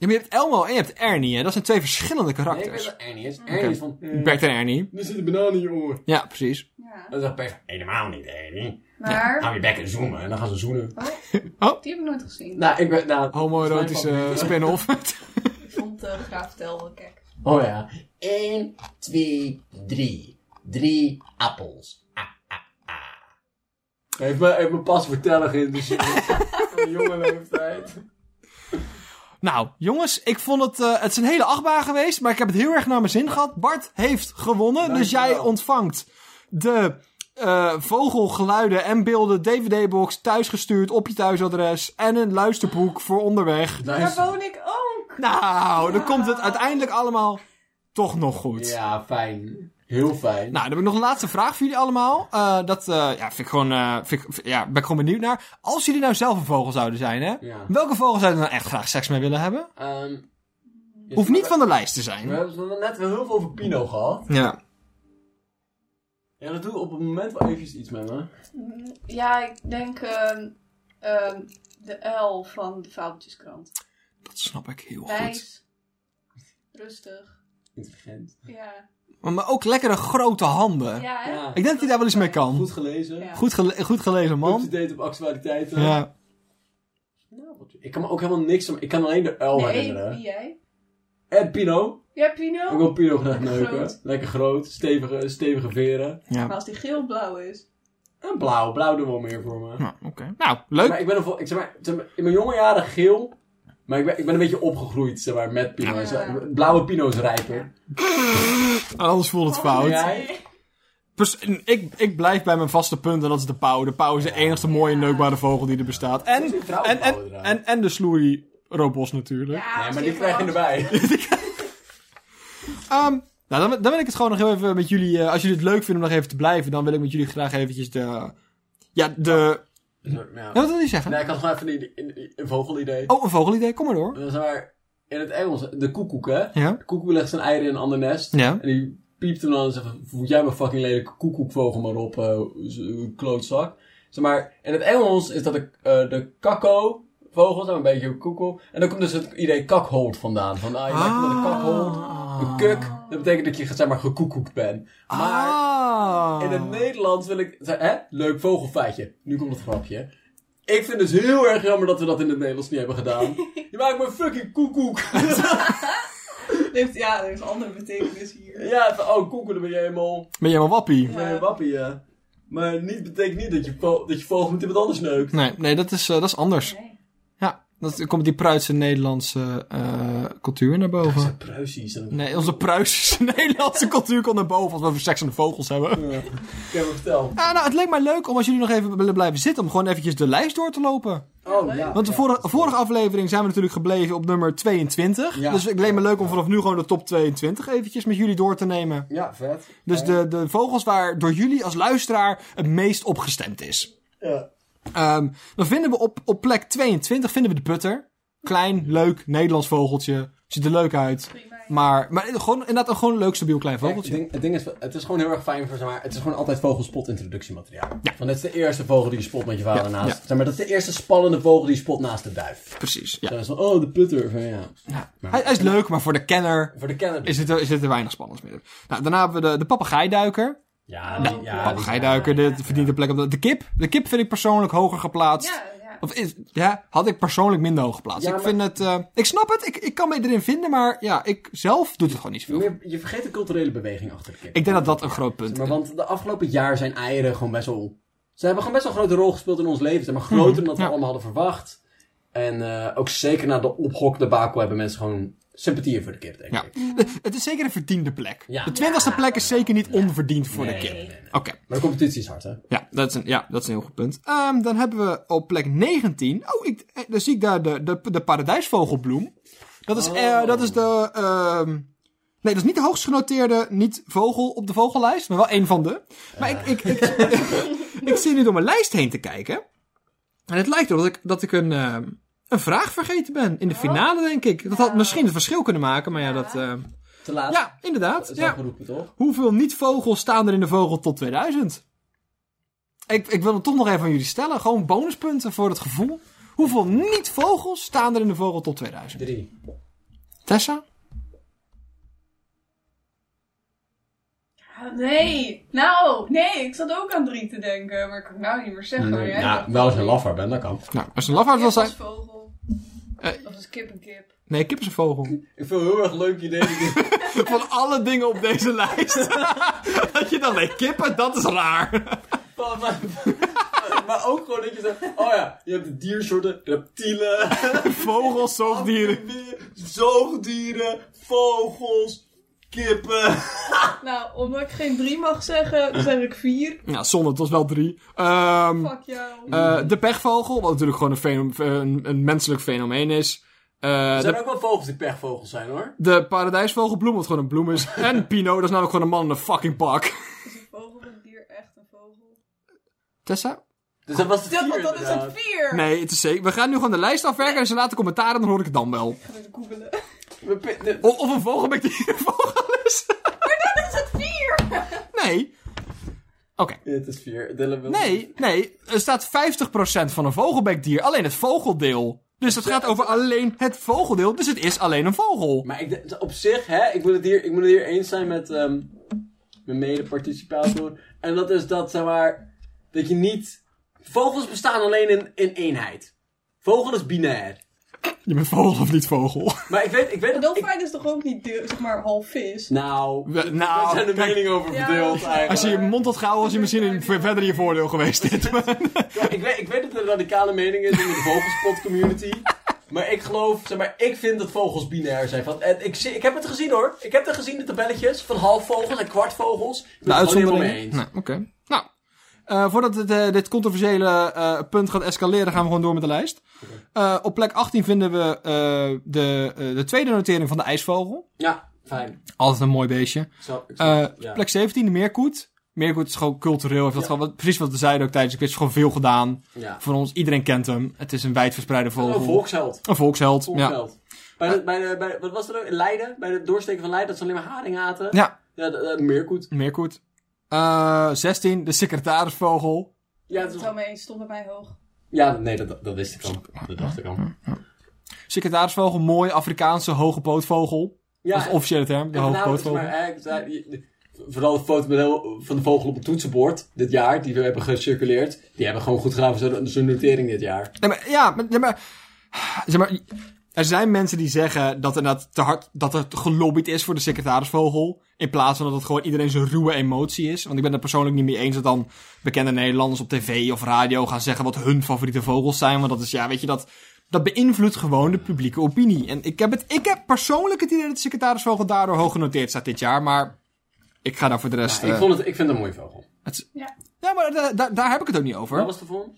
B: maar je hebt Elmo en je hebt Ernie, hè? Dat zijn twee verschillende
A: nee, ik weet
B: karakters.
A: dat Ernie is. Ernie is van... eh,
B: Bert en Ernie.
A: Er zit een banaan in je oor.
B: Ja, precies.
C: Ja,
A: Dan zegt Bert, helemaal niet Ernie.
C: maar
A: Hou je bek en zoomen. En dan gaan ze zoenen.
C: die heb ik nooit gezien.
A: Nou, ik ben... Nou,
B: Homoerotische (laughs) spin-off.
C: Ik vond eh, Graaf Tel wel gek.
A: Oh ja. 1, 2, 3. 3 appels. Ah, ah, ah. Hij heeft me, heeft me pas vertellen geïnteresseerd. (laughs) Van een jonge leeftijd.
B: nou, jongens, ik vond het... eh, het is een hele achtbaan geweest, maar ik heb het heel erg naar mijn zin gehad. Bart heeft gewonnen, dus jij
A: Dankjewel.
B: ontvangt de eh, vogelgeluiden en beelden DVD-box thuisgestuurd op je thuisadres en een luisterboek voor onderweg.
C: Daar woon ik ook.
B: Nou, dan komt het uiteindelijk allemaal toch nog goed.
A: Ja, fijn. Heel fijn.
B: Nou, dan heb ik nog een laatste vraag voor jullie allemaal. Eh, dat eh, ja, vind ik gewoon, eh, vind ik- vind- ja, ben ik gewoon benieuwd naar. Als jullie nou zelf een vogel zouden zijn, hè?
A: Ja.
B: Welke vogel zouden nou echt graag seks mee willen hebben?
A: Ehm, ja,
B: Hoeft niet
A: we-
B: van de lijst te
A: We
B: zijn.
A: hebben het net wel heel veel over Pino gehad.
B: Ja.
A: Ja, dat doe ik op het moment wel eventjes iets met me.
C: Mm, Ja, ik denk ehm, ehm, de L van de Fabeltjeskrant.
B: Dat snap ik
A: Oh,
B: heel goed.
C: Wijs. Rustig.
A: Intelligent.
C: Ja.
B: Maar, maar ook lekkere grote handen.
C: Ja, hè?
A: Ja.
B: Ik denk dat hij daar wel iets mee kan.
A: Goed gelezen.
C: Ja.
B: Goed, gele- goed gelezen, man.
A: Up-to-date op actualiteiten.
B: Ja.
A: Nou, wat- ik kan me ook helemaal niks om... Ik kan alleen de L
C: Nee, wie
A: herinneren.
C: jij?
A: En Pino.
C: Ja,
A: Ik
C: Pino?
A: wil Pino graag
C: Lekker
A: neuken.
C: groot.
A: Lekker groot. Stevige, stevige veren.
C: Maar
B: Ja.
C: als die geel-blauw is.
A: En blauw. Blauw doet wel meer voor me.
B: Nou, oké. Nou, leuk.
A: Maar ik ben nog wel- ik zeg maar, zeg maar, in mijn jonge jaren geel. Maar ik ben, ik ben een beetje opgegroeid zeg maar, met Pino.
C: Ja.
A: Blauwe Pino is rijper.
B: Anders voelt het fout.
A: Ja.
B: Pers- ik, ik blijf bij mijn vaste punt en dat is de pauw. De pauw is de enigste mooie neukbare vogel die er bestaat. En,
A: Er zit
B: en,
A: trouwens
B: en,
A: pauw
B: en,
A: eraan.
B: en, de sloei robos natuurlijk.
C: Ja,
A: nee, maar
C: zeker
A: die krijg je
C: wel. (laughs)
A: erbij.
B: Ehm, nou, dan, dan wil ik het gewoon nog heel even met jullie... eh, als jullie het leuk vinden om nog even te blijven, dan wil ik met jullie graag eventjes de... Ja, de...
A: Ja.
B: Ja, wat wil je zeggen?
A: Nee, ik had gewoon even een, een, een vogelidee.
B: Oh, een vogelidee. Kom maar door.
A: Dat is maar in het Engels, de koekoek, hè?
B: Ja.
A: De koekoek legt zijn eieren in een ander nest.
B: Ja.
A: En die piept hem dan en zegt: Voed jij mijn fucking lelijke koekoekvogel maar op, eh, z- eh, klootzak. Zeg maar, in het Engels is dat de, eh de kakko. Vogels, een beetje koekoek. En dan komt dus het idee kakhold vandaan. Van, ah, je lijkt met een kakhold.
B: Ah.
A: Een kuk, dat betekent dat je zeg maar gekoekoekt bent. Maar
B: Ah.
A: in het Nederlands wil ik. Hè? Leuk vogelfeitje. Nu komt het grapje. Ik vind het dus heel erg jammer dat we dat in het Nederlands niet hebben
B: (laughs)
A: gedaan. Je maakt me fucking koekoek.
C: Dat heeft- Ja, er is een andere betekenis hier.
A: ja, van, oh koekoek, dan ben je helemaal.
B: Ben jij maar wappie?
A: Dan ben je wappie, ja. Maar niet betekent niet dat je, vo- dat je vogel met iemand anders neukt.
B: Nee, nee dat, is, eh, dat is anders.
C: Nee.
B: Ja, dat komt die Pruitse Nederlandse eh, cultuur naar boven.
A: Dat is Pruisisch. Dat
B: Nee, onze Pruisische (laughs) Nederlandse cultuur komt naar boven als we over seks en de vogels hebben.
A: kan me vertellen.
B: Ja, nou, het leek mij leuk om als jullie nog even willen blijven zitten, om gewoon eventjes de lijst door te lopen.
A: Oh ja.
B: Want de vorige, vorige aflevering zijn we natuurlijk gebleven op nummer 22.
A: Ja.
B: Dus het leek me leuk om vanaf nu gewoon de top 22 eventjes met jullie door te nemen.
A: Ja, vet.
B: Dus de, de vogels waar door jullie als luisteraar het meest op gestemd is.
A: Ja.
B: Ehm, dan vinden we op, op plek 22 vinden we de putter. Klein, leuk, Nederlands vogeltje. Ziet er leuk uit.
C: Prima.
B: Maar, maar gewoon, inderdaad een gewoon een leuk, stabiel klein
A: Kijk, het,
B: vogeltje.
A: ding, het ding is, het is gewoon heel erg fijn voor, zeg maar, het is gewoon altijd vogelspot introductiemateriaal.
B: Ja.
A: Van dit is de eerste vogel die je spot met je vader
B: Ja,
A: naast.
B: ja.
A: Zeg maar, dat is de eerste spannende vogel die je spot naast de duif.
B: Precies, ja.
A: Zo is van, oh, de putter. Van, ja.
B: ja. Hij, hij is leuk, maar voor de kenner
A: Voor de kenner.
B: is het er, is het er weinig spannends meer. Nou, daarna hebben we de, de papegaaiduiker.
A: Ja, die, ja, Ah,
B: Oh,
A: die-
B: papegaaiduiker, dit verdient een plek op de... De kip. De kip vind ik persoonlijk hoger geplaatst.
C: Ja, ja.
B: Of is, ja, had ik persoonlijk minder hoog geplaatst.
A: Ja,
B: ik
A: maar-
B: vind het... eh, ik snap het, ik, ik kan me erin vinden, maar ja, ik zelf doet het gewoon niet zoveel.
A: Meer- je vergeet de culturele beweging achter de kip.
B: Ik denk dat dat een groot punt
A: Zeg
B: is.
A: Maar want de afgelopen jaar zijn eieren gewoon best wel... Ze hebben gewoon best wel een grote rol gespeeld in ons leven. Zeg maar groter dan dat we
B: ja.
A: allemaal hadden verwacht. En eh, ook zeker na de ophokdebakel hebben mensen gewoon sympathieën voor de kip, denk
B: Ja.
A: ik.
B: Het is zeker een verdiende plek.
A: Ja.
B: De twintigste plek is zeker niet onverdiend voor
A: Nee,
B: de kip.
A: nee, nee, nee.
B: Oké,
A: Maar de competitie is hard, hè?
B: ja, dat is een, ja, dat is een heel goed punt. Ehm, dan hebben we op plek 19. Oh, ik, eh, dan zie ik daar de, de, de paradijsvogelbloem. Dat is, eh,
A: Oh.
B: dat is de. ehm, nee, dat is niet de hoogst genoteerde niet-vogel op de vogellijst, maar wel één van de. Maar ik, ik, (laughs) ik, ik zit nu door mijn lijst heen te kijken. En het lijkt erop dat ik, dat ik een, ehm, een vraag vergeten ben in de finale, denk ik. Dat had misschien het verschil kunnen maken, maar ja, dat. ehm,
A: Te laat.
B: ja,
A: Dat
B: inderdaad.
A: is al
B: Ja.
A: geroepen, toch?
B: Hoeveel niet-vogels staan er in de vogel tot 2000? Ik, ik wil het toch nog even aan jullie stellen. Gewoon bonuspunten voor het gevoel. Hoeveel niet-vogels staan er in de vogel tot 2000?
A: Drie.
B: Tessa? Oh.
C: Ah, Nee, nou, nee, ik zat ook aan drie te denken, maar ik kan het nou niet meer zeggen. maar jij
A: ja,
C: dacht
A: wel als
C: dat
A: je een
C: ik-
A: lafaard bent, dat kan.
B: Nou, als een lafaard wil
C: Kip
B: zijn...
C: als vogel.
B: Eh.
C: Of als kip een kip.
B: Nee, kip is een vogel.
A: Ik vind het heel erg leuk idee.
B: (laughs)
A: (laughs)
B: Van alle dingen op (laughs) deze lijst. dat je dan... Nee, kippen, dat is raar.
A: maar, maar ook gewoon dat je zegt, oh ja, je hebt de diersoorten, reptielen,
B: (laughs) Vogels, zoogdieren.
A: amfibieën, zoogdieren, vogels, kippen.
C: Nou, omdat ik geen drie mag zeggen, zeg ik vier.
B: Ja, zonde, het was wel drie. Ehm
C: Fuck jou.
B: eh, de pechvogel, wat natuurlijk gewoon een, fenom- een, een menselijk fenomeen is. Eh,
A: Er
B: de
A: zijn ook wel vogels die pechvogels zijn hoor.
B: De paradijsvogelbloem, wat gewoon een bloem (laughs) is. En Pino, dat is namelijk gewoon een man in een fucking pak.
C: Is een vogel of een dier echt een vogel?
B: Tessa?
A: Dus dat was het
C: Dat,
A: vier,
C: dat is
A: inderdaad.
C: het vier!
B: Nee, het is zeker. We gaan nu gewoon de lijst afwerken en ze laten commentaar en dan hoor ik het dan wel.
C: Ik ga het googelen. (laughs)
A: We pi- de-
C: Oh.
B: O- of een vogel met die (laughs) een vogel is. (laughs)
C: Dat is het vier!
B: Nee. Oké.
A: Het is vier. Dylan wil-
B: Nee, nee. Er staat 50% van een vogelbekdier. Alleen het vogeldeel. Dus het gaat over alleen het vogeldeel. Dus het is alleen een vogel.
A: Maar ik, d- op zich, hè, ik moet het hier, ik moet het hier eens zijn met ehm, mijn mede-participator. En dat is dat, zeg maar, dat je niet... Vogels bestaan alleen in, in eenheid. Vogel is binair.
B: Je bent vogel of niet vogel?
A: Maar ik weet, ik weet dat... Ik,
C: Dolfijn is toch ook niet deel- zeg maar half vis?
A: nou,
B: We- nou,
A: daar zijn de
B: kijk.
A: meningen over
C: Ja,
A: verdeeld
C: ja.
A: eigenlijk.
B: Als je je mond had gehouden, was je misschien in, verder in je voordeel geweest. Dit. (laughs)
A: Ja, ik, weet, ik weet dat er een radicale mening is in de vogelspot community. Maar ik geloof, zeg maar, ik vind dat vogels binair zijn. Want, en ik, zie- ik heb het gezien hoor. Ik heb het gezien, de tabelletjes van halfvogels en kwartvogels. Ik ben
B: De
A: het gewoon helemaal
B: uitzondering.
A: mee eens.
B: Nou, oké. Nou, eh, voordat het, eh, dit controversiële eh, punt gaat escaleren, gaan we gewoon door met de lijst. Eh, op plek 18 vinden we eh, de, eh, de tweede notering van de ijsvogel.
A: Ja, fijn.
B: Altijd een mooi beestje.
A: Ik snap- ik
B: Eh,
A: snap- ja.
B: Plek 17, de meerkoet. Meerkoet is gewoon cultureel. Heeft dat
A: Ja.
B: gewoon, wat- precies wat we zeiden ook tijdens de quiz. Gewoon veel gedaan.
A: Ja.
B: Voor ons, iedereen kent hem. Het is een wijdverspreide vogel.
A: Oh, volksheld.
B: Een volksheld. Ja. Eh.
A: Volksheld. Bij de, bij de, bij de- wat was er ook? In Leiden? Bij het doorsteken van Leiden, dat ze alleen maar haring aten.
B: ja,
A: Ja, de- de meerkoet.
B: een meerkoet. Eh, 16, de secretarisvogel.
A: Ja,
C: Dat
A: het
C: is
A: is-
C: wel mee, stond bij mij hoog.
A: ja, nee, dat, dat wist ik al. Dat dacht ik al.
B: Secretarisvogel, mooi Afrikaanse hoge pootvogel.
A: Ja,
B: dat is de officiële term, de
A: En
B: hoge
A: voornamelijk,
B: pootvogel.
A: zeg maar, eh, daar- je- de- Vooral de fotomodel van de vogel op het toetsenbord dit jaar, die we hebben gecirculeerd, die hebben gewoon goed gedaan voor zo'n- zo'n notering dit jaar.
B: Nee, maar, ja, maar, nee, maar, zeg maar, er zijn mensen die zeggen dat, inderdaad te hard, dat er gelobbyd is voor de secretarisvogel. In plaats van dat het gewoon iedereen zijn ruwe emotie is. Want ik ben het persoonlijk niet mee eens dat dan bekende Nederlanders op tv of radio gaan zeggen wat hun favoriete vogels zijn. Want dat is, ja, weet je, dat, dat beïnvloedt gewoon de publieke opinie. En ik heb, het, ik heb persoonlijk het idee dat de secretarisvogel daardoor hoog genoteerd staat dit jaar. Maar ik ga daar voor de rest...
A: ik,
B: eh,
A: vond het, ik vind het een mooie vogel.
B: Ja, maar da- da- daar heb ik het ook niet over.
A: Wat was de vorm?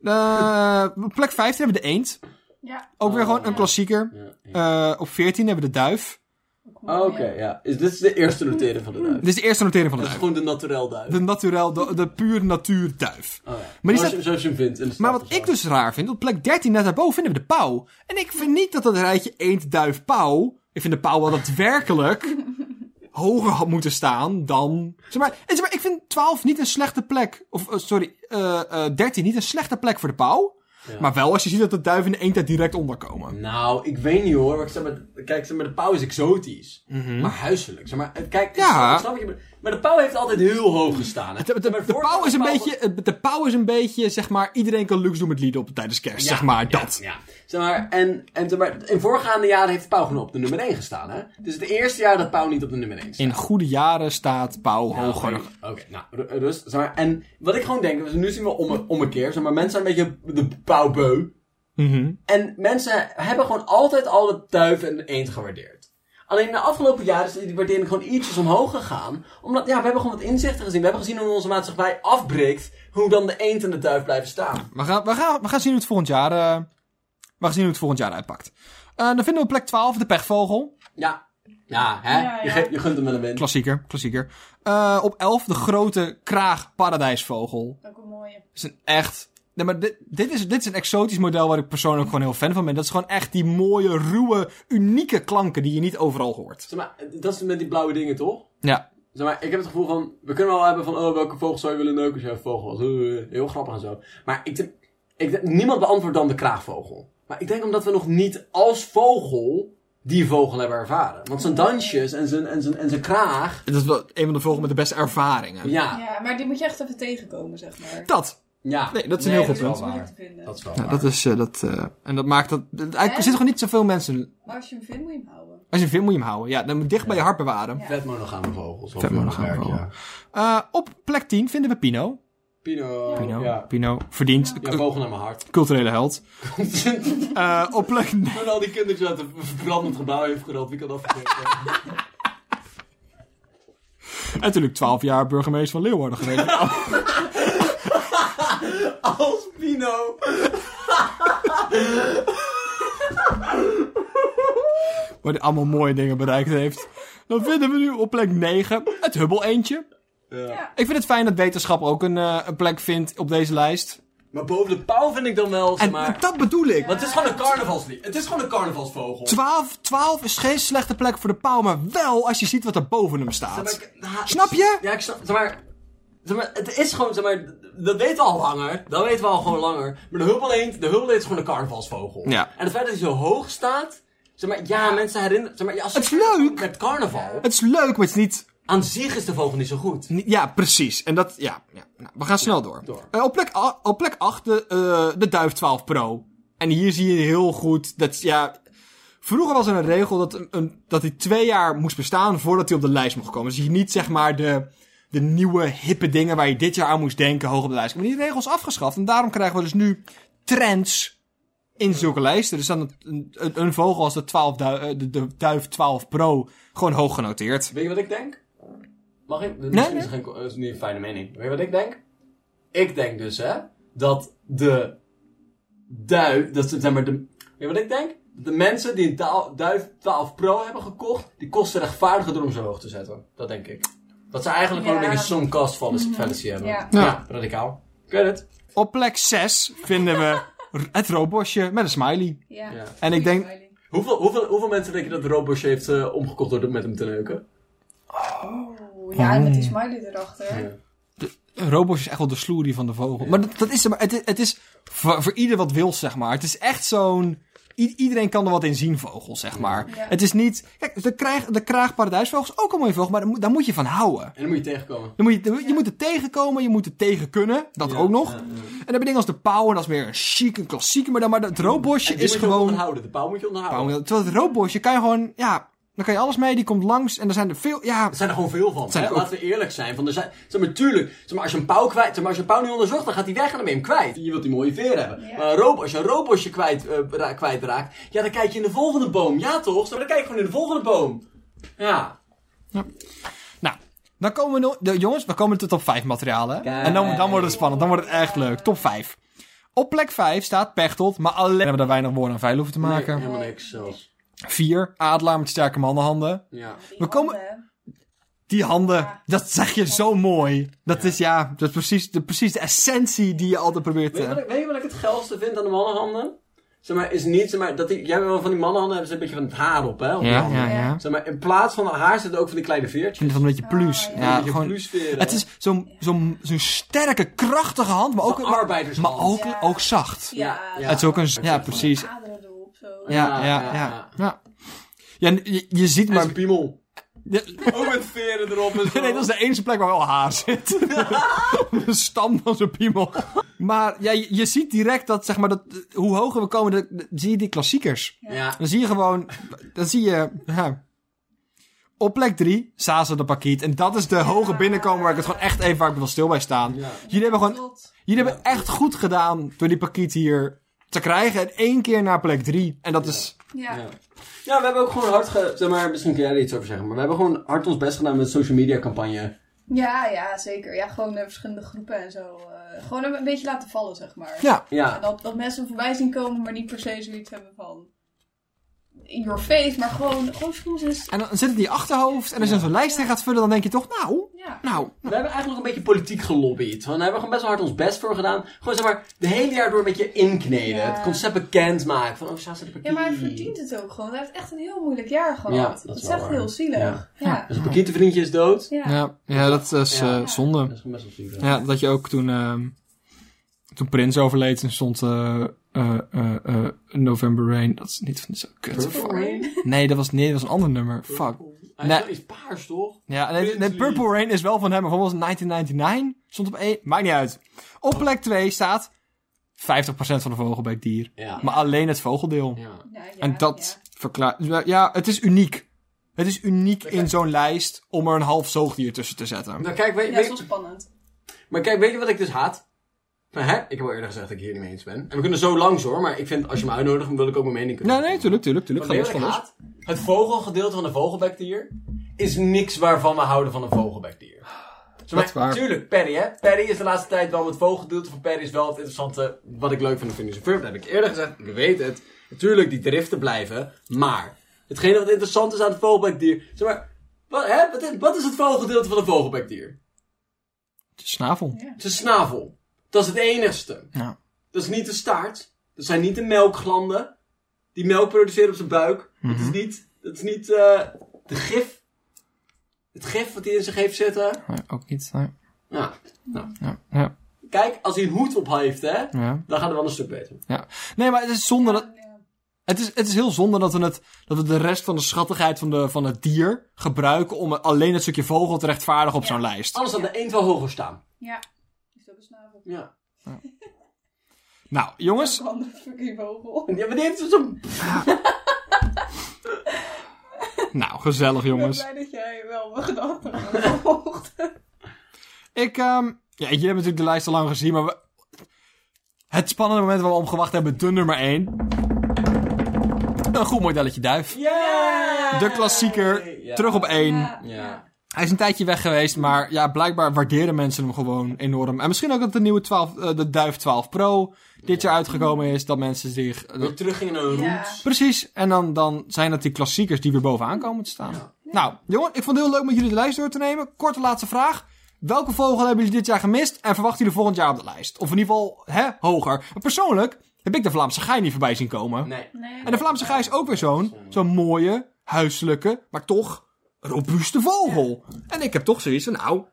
B: Eh, op plek 15 hebben we de eend.
C: Ja,
B: Ook weer
A: Oh,
B: gewoon een
A: ja.
B: klassieker.
A: Ja, ja.
B: Eh, op 14 hebben we de duif.
C: ook ook.
A: Ah, Oké, ja. Is, dit is de eerste notering van de
B: (laughs)
A: duif.
B: Dit is de eerste notering van de
A: Dat is
B: duif.
A: gewoon de naturel duif.
B: De naturel, de, de puur natuurduif.
A: Oh, ja.
B: Maar die
A: zoals,
B: staat-
A: je- zoals je hem vindt. in de
B: Maar
A: stad
B: wat
A: of
B: ik
A: zo.
B: dus raar vind, op plek 13 net daarboven vinden we de pauw. En ik vind niet dat dat rijtje eend, duif, pauw... Ik vind de pauw wel daadwerkelijk hoger had moeten staan dan... Zeg maar, en zeg maar, ik vind 12 niet een slechte plek. Of, eh, sorry, eh eh 13 niet een slechte plek voor de pauw.
A: Ja.
B: Maar wel als je ziet dat de duif en de eend daar direct onder komen.
A: Nou, ik weet niet hoor. maar ik zeg maar, kijk, zeg maar, de pauw is exotisch. Maar huiselijk. Zeg maar, kijk, ik
B: Mhm. Ja.
A: snap- ik snap wat je bedoelt. maar de pauw heeft altijd heel hoog gestaan. hè.
B: De, de,
A: Maar
B: de
A: voor-
B: pauw is een beetje, de pauw is een beetje, zeg maar, iedereen kan luxe doen met Lidl tijdens kerst, zeg maar, dat.
A: Ja, Zeg maar, en, en zeg maar, in voorgaande jaren heeft Pauw gewoon op de nummer 1 gestaan, hè? Dus het eerste jaar dat Pauw niet op de nummer 1 staat.
B: In goede jaren staat pauw hoger.
A: Oké, oké, nou, ru- rust. Zeg maar, en wat ik gewoon denk, dus nu zien we om, een- om een keer, zeg maar, mensen zijn een beetje de pauwbeu.
B: Mhm.
A: En mensen hebben gewoon altijd al de duif en de eend gewaardeerd. Alleen de afgelopen jaren is die waardering gewoon ietsjes omhoog gegaan. Omdat, ja, we hebben gewoon wat inzichten gezien. We hebben gezien hoe onze maatschappij afbreekt, hoe dan de eend en de duif blijven staan.
B: We gaan, we, gaan, we gaan zien hoe het volgend jaar, eh, we gaan zien hoe het volgend jaar uitpakt. Eh, dan vinden we op plek 12 de pechvogel.
A: Ja, ja, hè?
C: Ja, ja.
A: Je, geeft- je gunt hem wel een win.
B: Klassieker, klassieker. Eh, op 11 de grote kraag paradijsvogel.
C: Ook een mooie.
B: is een echt. Nee, maar dit, dit, is, dit is een exotisch model waar ik persoonlijk gewoon heel fan van ben. Dat is gewoon echt die mooie, ruwe, unieke klanken die je niet overal hoort.
A: Zeg maar, dat is met die blauwe dingen, toch?
B: Ja.
A: Zeg maar, ik heb het gevoel van, we kunnen wel hebben van, oh, welke vogel zou je willen neuken als jij een vogel was? Eh, eh, heel grappig en zo. Maar ik denk, ik denk- niemand beantwoordt dan de kraagvogel. Maar ik denk omdat we nog niet als vogel die vogel hebben ervaren. Want zijn dansjes en zijn, en zijn, en zijn kraag,
B: Dat is wel een van de vogels met de beste ervaringen.
A: ja.
C: Ja, maar die moet je echt even tegenkomen, zeg maar.
B: Dat.
A: ja.
B: Nee, dat is een heel
A: dat
B: goed
A: wel
C: is moeilijk
A: waar.
C: te vinden.
A: Dat is wel
B: Ja,
A: waar.
B: dat is, eh, dat, eh, en dat maakt dat, er zitten gewoon niet zoveel mensen.
C: Maar als je hem vindt, moet je hem houden.
B: Als je veel moet je hem houden. Ja, dan moet je dicht bij je hart bewaren.
C: Ja.
A: Vet monogame vogels.
B: Vet monogame
A: Werk,
B: vogel.
A: ja.
B: Eh, op plek 10 vinden we Pino.
A: Pino.
B: Pino,
A: Ja.
B: Pino verdient
A: ja, vogel naar mijn hart. (laughs)
B: culturele held. Eh, op plek
A: Toen al die kindertjes uit een verbrandend gebouw heeft gereld, wie kan dat vergeten? (laughs)
B: En (laughs) natuurlijk 12 jaar burgemeester van
A: (laughs)
B: Leeuwarden geweest.
A: Als Pino.
B: waar hij allemaal mooie dingen bereikt heeft. Dan vinden we nu op plek 9 het Hubbel eentje.
A: Ja.
B: Ik vind het fijn dat wetenschap ook een, eh, een plek vindt op deze lijst.
A: Maar boven de pauw vind ik dan wel, zeg
B: En
A: maar...
B: dat bedoel ik.
A: Want het is gewoon een carnavalslied. Het is gewoon een carnavalsvogel.
B: 12, 12 is geen slechte plek voor de pauw, maar wel als je ziet wat er boven hem
A: Maar
B: staat.
A: ik- nou,
B: Snap je?
A: Ja, ik snap. Zeg maar, zeg maar, het is gewoon, zeg maar, dat weten we al langer. Dat weten we al gewoon langer. Maar de hubbeleend, de hubbeleend is gewoon een carnavalsvogel.
B: Ja.
A: En het feit dat hij zo hoog staat, zeg maar, ja, mensen herinneren, zeg maar, ja, als
B: Het is leuk.
A: Met carnaval,
B: Het is leuk, maar het is niet...
A: aan zich is de vogel niet zo goed.
B: niet- Ja, precies. En dat... Ja, ja. Nou, we gaan snel door.
A: door.
B: Eh, op, plek, a- op plek 8 de, eh, de Duif 12 Pro. En hier zie je heel goed dat... Ja, Vroeger was er een regel dat, een, een- dat hij twee jaar moest bestaan voordat hij op de lijst mocht komen. Dus je niet zeg maar de, de nieuwe hippe dingen waar je dit jaar aan moest denken hoog op de lijst. Maar die regel is afgeschaft en daarom krijgen we dus nu trends in zulke lijsten. Dus dan een, een, een vogel als de, 12 du- eh, de, de Duif 12 Pro gewoon hoog genoteerd.
A: Weet je wat ik denk? Mag ik? Misschien
B: nee.
A: Is het geen, eh, is niet een fijne mening. Weet je wat ik denk? Ik denk dus, hè, dat de duif, dat ze, zeg maar, de, weet je wat ik denk? Dat de mensen die een taal- duif 12 Pro hebben gekocht, die kosten rechtvaardigen door om zo hoog te zetten. Dat denk ik. Dat ze eigenlijk
C: Ja. Mhm.
A: gewoon een beetje zo'n kast fallacy hebben.
C: Ja.
B: Ja.
A: radicaal. Ik weet het.
B: Op plek 6 vinden
A: (laughs)
B: we het roodborstje met een smiley.
C: Ja.
A: Ja.
B: En ik denk,
C: Smiley.
A: Hoeveel, hoeveel, hoeveel mensen denk je dat Roboche heeft eh, omgekocht door met hem te neuken?
C: Oeh, ja, en met
B: Oh.
C: die smiley erachter.
A: Ja.
B: Een robo's is echt wel de sloerie van de vogel. Maar dat, dat is, maar het, is- het is voor, voor ieder wat wil, zeg maar. Het is echt zo'n... i- iedereen kan er wat in zien, vogel, zeg maar.
C: Ja.
B: Het is niet... Kijk, de, kraag, de kraagparadijsvogel is ook een mooie vogel, maar daar moet, daar moet je van houden.
A: En dan moet je tegenkomen.
B: Dan moet je, je moet het tegenkomen, je moet het tegen kunnen. Dat ook nog. En dan heb je dingen als de pauw en dat is meer een chic, een klassieke. Maar, dan, maar het roodborstje
A: En die
B: is
A: moet je
B: gewoon...
A: onderhouden. De pauw moet je onderhouden.
B: Pauw, Terwijl het roodborstje kan je gewoon... Ja, dan kan je alles mee. Die komt langs en er zijn er veel... Ja,
A: Er zijn er gewoon veel van.
B: zijn
A: hè?
B: er ook-
A: Laten we eerlijk zijn. Van, er zijn zeg maar, tuurlijk, zeg maar, als je een pauw kwijt, zeg maar, als je een pauw niet onderzocht, dan gaat hij weg en dan ben je hem kwijt. Je wilt die mooie veer hebben.
C: Ja.
A: Maar een robo, als je een robosje kwijt, eh, ra- kwijtraakt, ja, dan kijk je in de volgende boom. Ja, toch? Zeg maar, Dan kijk je gewoon in de volgende boom. Ja.
B: Nou, dan komen we nog. de- jongens, we komen tot top 5 materialen. En dan, dan wordt het spannend. Dan wordt het echt leuk. Top 5. Op plek 5 staat Pechtold, maar alleen hebben we daar weinig woorden aan vuil hoeven te maken.
A: Helemaal niks zelfs.
B: Vier, Adelaar met sterke mannenhanden.
A: Ja.
B: We komen-
C: handen,
B: Die handen,
C: Ja.
B: dat zeg je zo mooi. Dat
A: Ja.
B: is ja, dat is precies de, precies de essentie die je altijd probeert eh,
A: Weet, je wat
B: te...
A: ik, weet je wat ik het geilste vind aan de mannenhanden? Zeg maar, is niet, zeg maar, dat die, jij hebt wel van die mannenhanden hebben ze een beetje van het haar op, hè? op die handen.
C: ja.
A: Zeg maar, in plaats van haar zitten ook van die kleine
B: Ik
A: veertjes.
B: vind het wel een beetje plus.
C: Ah,
B: ja,
C: ja.
A: Een beetje
B: gewoon,
A: plusveren.
B: het is zo'n zo'n zo'n sterke, krachtige hand, maar ook,
A: Zo'n
B: maar,
A: arbeidershand.
B: maar ook,
C: Ja.
B: ook zacht.
A: Ja,
C: Ja,
A: ja.
B: Het is ook een...
A: Ja,
B: Ja,
A: precies.
B: precies.
C: aderen erop, zo.
B: Ja, ja,
A: ja,
B: ja.
A: ja.
B: ja. ja en je, je ziet
A: maar...
B: maar...
A: een piemel.
B: Ja, (laughs)
A: Ook met veren erop en zo.
B: Nee, dat is de enige plek waar wel haar zit. (laughs) de stam van zo'n piemel. Maar ja, je, je ziet direct dat, zeg maar, dat, eh, hoe hoger we komen, dat- dat- zie je die klassiekers.
A: Ja.
B: Dan zie je gewoon, dan zie je, ja. Op plek 3, Sasa de Pakiet. En dat is de hoge binnenkomen waar ik het gewoon echt even, waar ik wil stil bij staan.
A: Ja.
B: Jullie hebben gewoon,
C: Tot.
B: jullie hebben echt goed gedaan door die Pakiet hier te krijgen. En één keer naar plek 3. En dat is,
C: Ja.
A: Ja. Ja, we hebben ook gewoon hard ge... Zeg maar, misschien kun jij er iets over zeggen. Maar we hebben gewoon hard ons best gedaan met de social media campagne.
C: Ja, ja, zeker. Ja, gewoon naar verschillende groepen en zo. eh, gewoon hem een beetje laten vallen, zeg maar.
B: ja.
C: En
A: Ja.
C: Dat, dat mensen voorbij zien komen, maar niet per se zoiets hebben van... In your face, maar gewoon, gewoon soms is...
B: En dan zit het in je achterhoofd. En als je dan zo'n lijst in gaat vullen, dan denk je toch, nou,
C: Ja.
B: nou,
A: We hebben eigenlijk een beetje politiek gelobbyd. Want daar hebben we gewoon best wel hard ons best voor gedaan. Gewoon zeg maar, de hele jaar door een beetje inkneden.
C: Ja.
A: Het concept bekend maken. Van, oh, Sasa de
C: Ja, maar hij verdient het ook gewoon. Hij heeft echt een heel moeilijk jaar gehad.
A: Ja, dat
C: dat,
A: is
C: is
A: wel
C: echt
A: waar.
C: heel zielig. Ja. Ja.
A: Dus een pakietenvriendje is dood.
B: Ja, ja dat is
A: Ja.
B: eh, zonde.
A: Dat is gewoon best wel zielig.
B: Ja, dat je ook toen, ehm, toen Prins overleed en stond eh, eh, eh, eh, November Rain. Dat is niet van zo kut.
A: Purple
B: Fuck.
A: Rain?
B: Nee, dat was, nee, dat was een ander nummer. Fuck.
A: Hij
B: Nee.
A: is- is paars, toch?
B: Ja, nee, nee,
A: Prinsley.
B: Purple Rain is wel van hem. Maar wat was het, 1999? Stond op 1. Maakt niet uit. Op plek 2 staat 50% van de vogelbeek dier.
A: Ja.
B: Maar alleen het vogeldeel.
A: ja.
C: Nou, ja,
B: en dat verklaart... Ja, het is uniek. Het is uniek in zo'n lijst om er een half zoogdier tussen te zetten.
A: Nou, kijk, weet,
C: Ja, ja
A: weet-
C: is wel spannend.
A: maar kijk, weet je wat ik dus haat? Maar, hè? Ik heb al eerder gezegd dat ik hier niet mee eens ben. En we kunnen zo langs hoor, maar ik vind als je me uitnodigt, dan wil ik ook mijn mening kunnen.
B: Nee, nee, tuurlijk, tuurlijk, tuurlijk. Ga
A: Wat
B: los
A: ik
B: van los.
A: haat, het vogelgedeelte van een vogelbekdier is niks waarvan we houden van een vogelbekdier. Zeg maar,
B: Dat is waar.
A: Tuurlijk, Perry hè. Perry is de laatste tijd wel het vogelgedeelte van Perry is wel het interessante wat ik leuk vind van Phineas en Ferb. Dat Dus heb ik eerder gezegd, ik weet het. Natuurlijk, die driften blijven, maar hetgene wat interessant is aan het vogelbekdier, zeg maar, wat, hè? Wat, is, wat is het vogelgedeelte van een vogelbekdier?
B: Snavel.
C: Ja.
A: Het is een snavel. Dat is het enigste.
B: Ja.
A: Dat is niet de staart. Dat zijn niet de melkglanden. Die melk produceren op zijn buik. Dat
B: Mhm.
A: is niet, dat is niet eh, de gif. Het gif wat hij in zich heeft zitten.
B: Nee, ook niet. Nee.
A: Nou,
B: Ja, ja,
A: kijk, als hij een hoed op heeft, hè,
B: ja,
A: dan gaat het wel een stuk beter.
B: ja. nee, maar het is zonde dat...
C: Ja.
B: Het is, het is heel zonde dat we, het, dat we de rest van de schattigheid van, de, van het dier gebruiken om alleen het stukje vogel te rechtvaardigen op
C: Ja.
B: zo'n lijst.
A: Anders had de eend wel hoger staan.
C: Ja. Is dat een snavel?
A: Ja.
B: Nou, jongens.
C: Een andere fucking vogel.
A: Ja, maar dus die heeft zo'n...
B: Nou, gezellig, jongens.
C: Ik ben blij dat jij wel mijn
B: (laughs)
C: gedachten hebt gevolgd.
B: Ik, ehm ja, jullie hebben natuurlijk de lijst al lang gezien, maar we- het spannende moment waar we om gewacht hebben, de nummer 1. Een goed modelletje duif.
A: Yeah!
B: De klassieker,
A: Ja.
B: terug op 1.
C: Ja.
A: Ja.
B: Hij is een tijdje weg geweest, maar ja, blijkbaar waarderen mensen hem gewoon enorm. En misschien ook dat de nieuwe 12, eh, de Duif 12 Pro dit jaar uitgekomen is, dat mensen zich... eh,
A: Weer
B: dat-
A: terug in een
C: Ja.
A: roet.
B: Precies, en dan, dan zijn dat die klassiekers die weer bovenaan komen te staan. Nou, jongen, ik vond het heel leuk met jullie de lijst door te nemen. Korte laatste vraag. Welke vogel hebben jullie dit jaar gemist en verwachten jullie volgend jaar op de lijst? Of in ieder geval, hè, hoger. Maar persoonlijk heb ik de Vlaamse Gij niet voorbij zien komen.
A: Nee.
C: Nee.
B: En de Vlaamse Gij is ook weer zo'n zo'n mooie, huiselijke, maar toch robuuste vogel. En ik heb toch zoiets van, nou,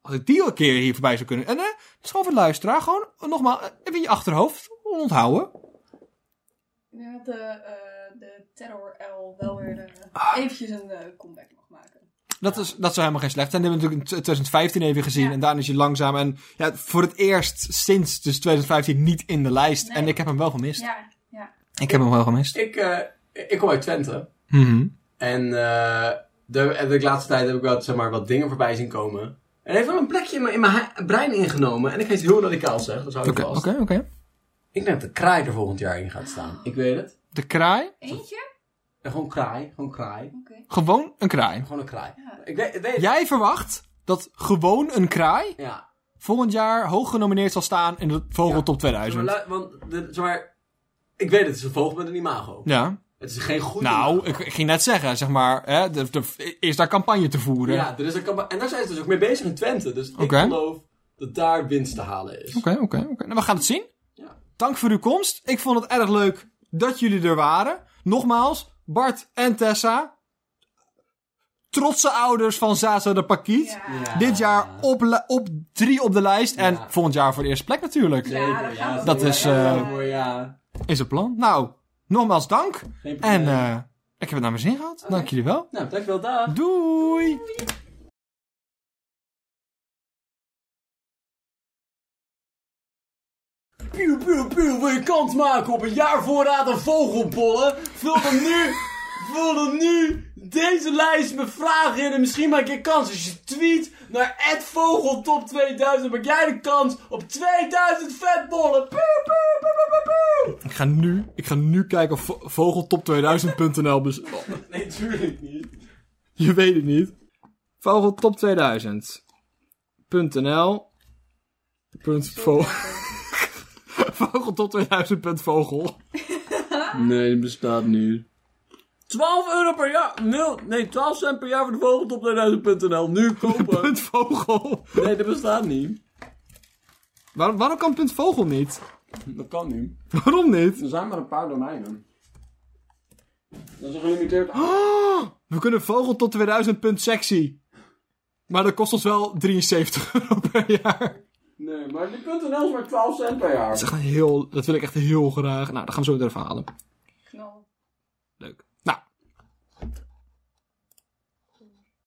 B: als ik die al een keer hier voorbij zou kunnen. En hè, het is gewoon voor de luisteraar, gewoon eh, nogmaals, eh, even in je achterhoofd onthouden.
C: Ik denk dat de, eh, de Terror L wel weer eh,
B: Ah.
C: eventjes een eh, comeback mag maken.
B: Dat, is, dat zou helemaal geen slecht zijn. Die hebben we natuurlijk in t- 2015 even gezien.
C: Ja.
B: En daarna is hij langzaam. En ja, voor het eerst sinds dus 2015 niet in de lijst.
C: Nee.
B: En ik heb hem wel gemist.
C: Ja, ja.
B: Ik heb hem wel gemist.
A: Ik, eh, ik kom uit Twente.
B: Mhm.
A: En eh de, en de laatste tijd heb ik wel zeg maar, wat dingen voorbij zien komen. En hij heeft wel een plekje in mijn, in mijn ha- brein ingenomen. En ik ga iets heel radicaals zeggen, dat hou ik
B: Oké,
A: vast.
B: oké, oké.
A: Ik denk dat de kraai er volgend jaar in gaat staan. Ik weet het.
B: De kraai.
C: Eentje?
A: En gewoon kraai, gewoon kraai.
C: Oké.
B: Gewoon een kraai.
A: Gewoon een kraai.
C: Ja.
A: Ik weet, ik weet
B: Jij verwacht dat gewoon een kraai
A: Ja.
B: volgend jaar hoog genomineerd zal staan in de Vogel
A: Ja.
B: Top
A: Zeg maar,
B: 2000.
A: lu- want, de, zeg maar, ik weet het, het is een vogel met een imago.
B: Ja.
A: Het is geen goede
B: Nou,
A: naam.
B: ik, ik ging net zeggen, zeg maar, hè, de, de, is daar campagne te voeren.
A: Ja, er is een campagne. En daar zijn ze dus ook mee bezig in Twente. Dus
B: Oké.
A: ik geloof dat daar winst te halen is.
B: Oké, oké, oké. Nou, we gaan het zien.
A: Ja.
B: Dank voor uw komst. Ik vond het erg leuk dat jullie er waren. Nogmaals, Bart en Tessa. Trotse ouders van Zaza de Pakiet.
A: Ja.
B: Dit jaar op, li- op drie op de lijst. En
A: Ja.
B: volgend jaar voor de eerste plek natuurlijk.
C: Ja, daar gaan we
B: Dat
C: voor.
B: is,
C: Ja,
B: eh,
A: voor, ja.
B: Is het plan. Nou, nogmaals dank.
A: Geen probleem.
B: En eh, ik heb het naar mijn zin gehad. Dank jullie wel.
A: Nou, dankjewel, dag.
B: Doei.
A: Piu, piu, piu, wil je kans maken op een jaar voorraad aan vogelbollen? Vul dan nu, vul dan nu deze lijst met vragen in en misschien maak je kans. Als je tweet naar vogeltop2000 maak jij de kans op 2000 vetbollen. Piu, piu, piu, piu, piu, piu.
B: Ik ga nu, ik ga nu kijken of vo- vogeltop2000.nl... bes-
A: Nee, tuurlijk niet.
B: Je weet het niet. Vogeltop2000.nl Punt vo- (laughs) Vogeltop2000.vogel
A: Nee, die bestaat niet. 12 euro per jaar. Nul. Nee, 12 cent per jaar voor de vogeltop2000.nl. Nu (laughs) kopen.
B: Punt vogel.
A: Nee, dat bestaat niet.
B: Waarom, waarom kan punt vogel niet?
A: Dat kan niet.
B: Waarom niet?
A: Er zijn maar een paar domeinen. Dat is een gelimiteerd
B: Ah, we kunnen vogel tot 2000 punt sexy. Maar dat kost ons wel 73 euro per jaar.
A: Nee, maar die .nl is maar 12 cent per
B: Dat,
A: jaar.
B: is echt een heel, dat wil ik echt heel graag. Nou, dat gaan we zo weer even halen.
C: Knal.
B: Leuk.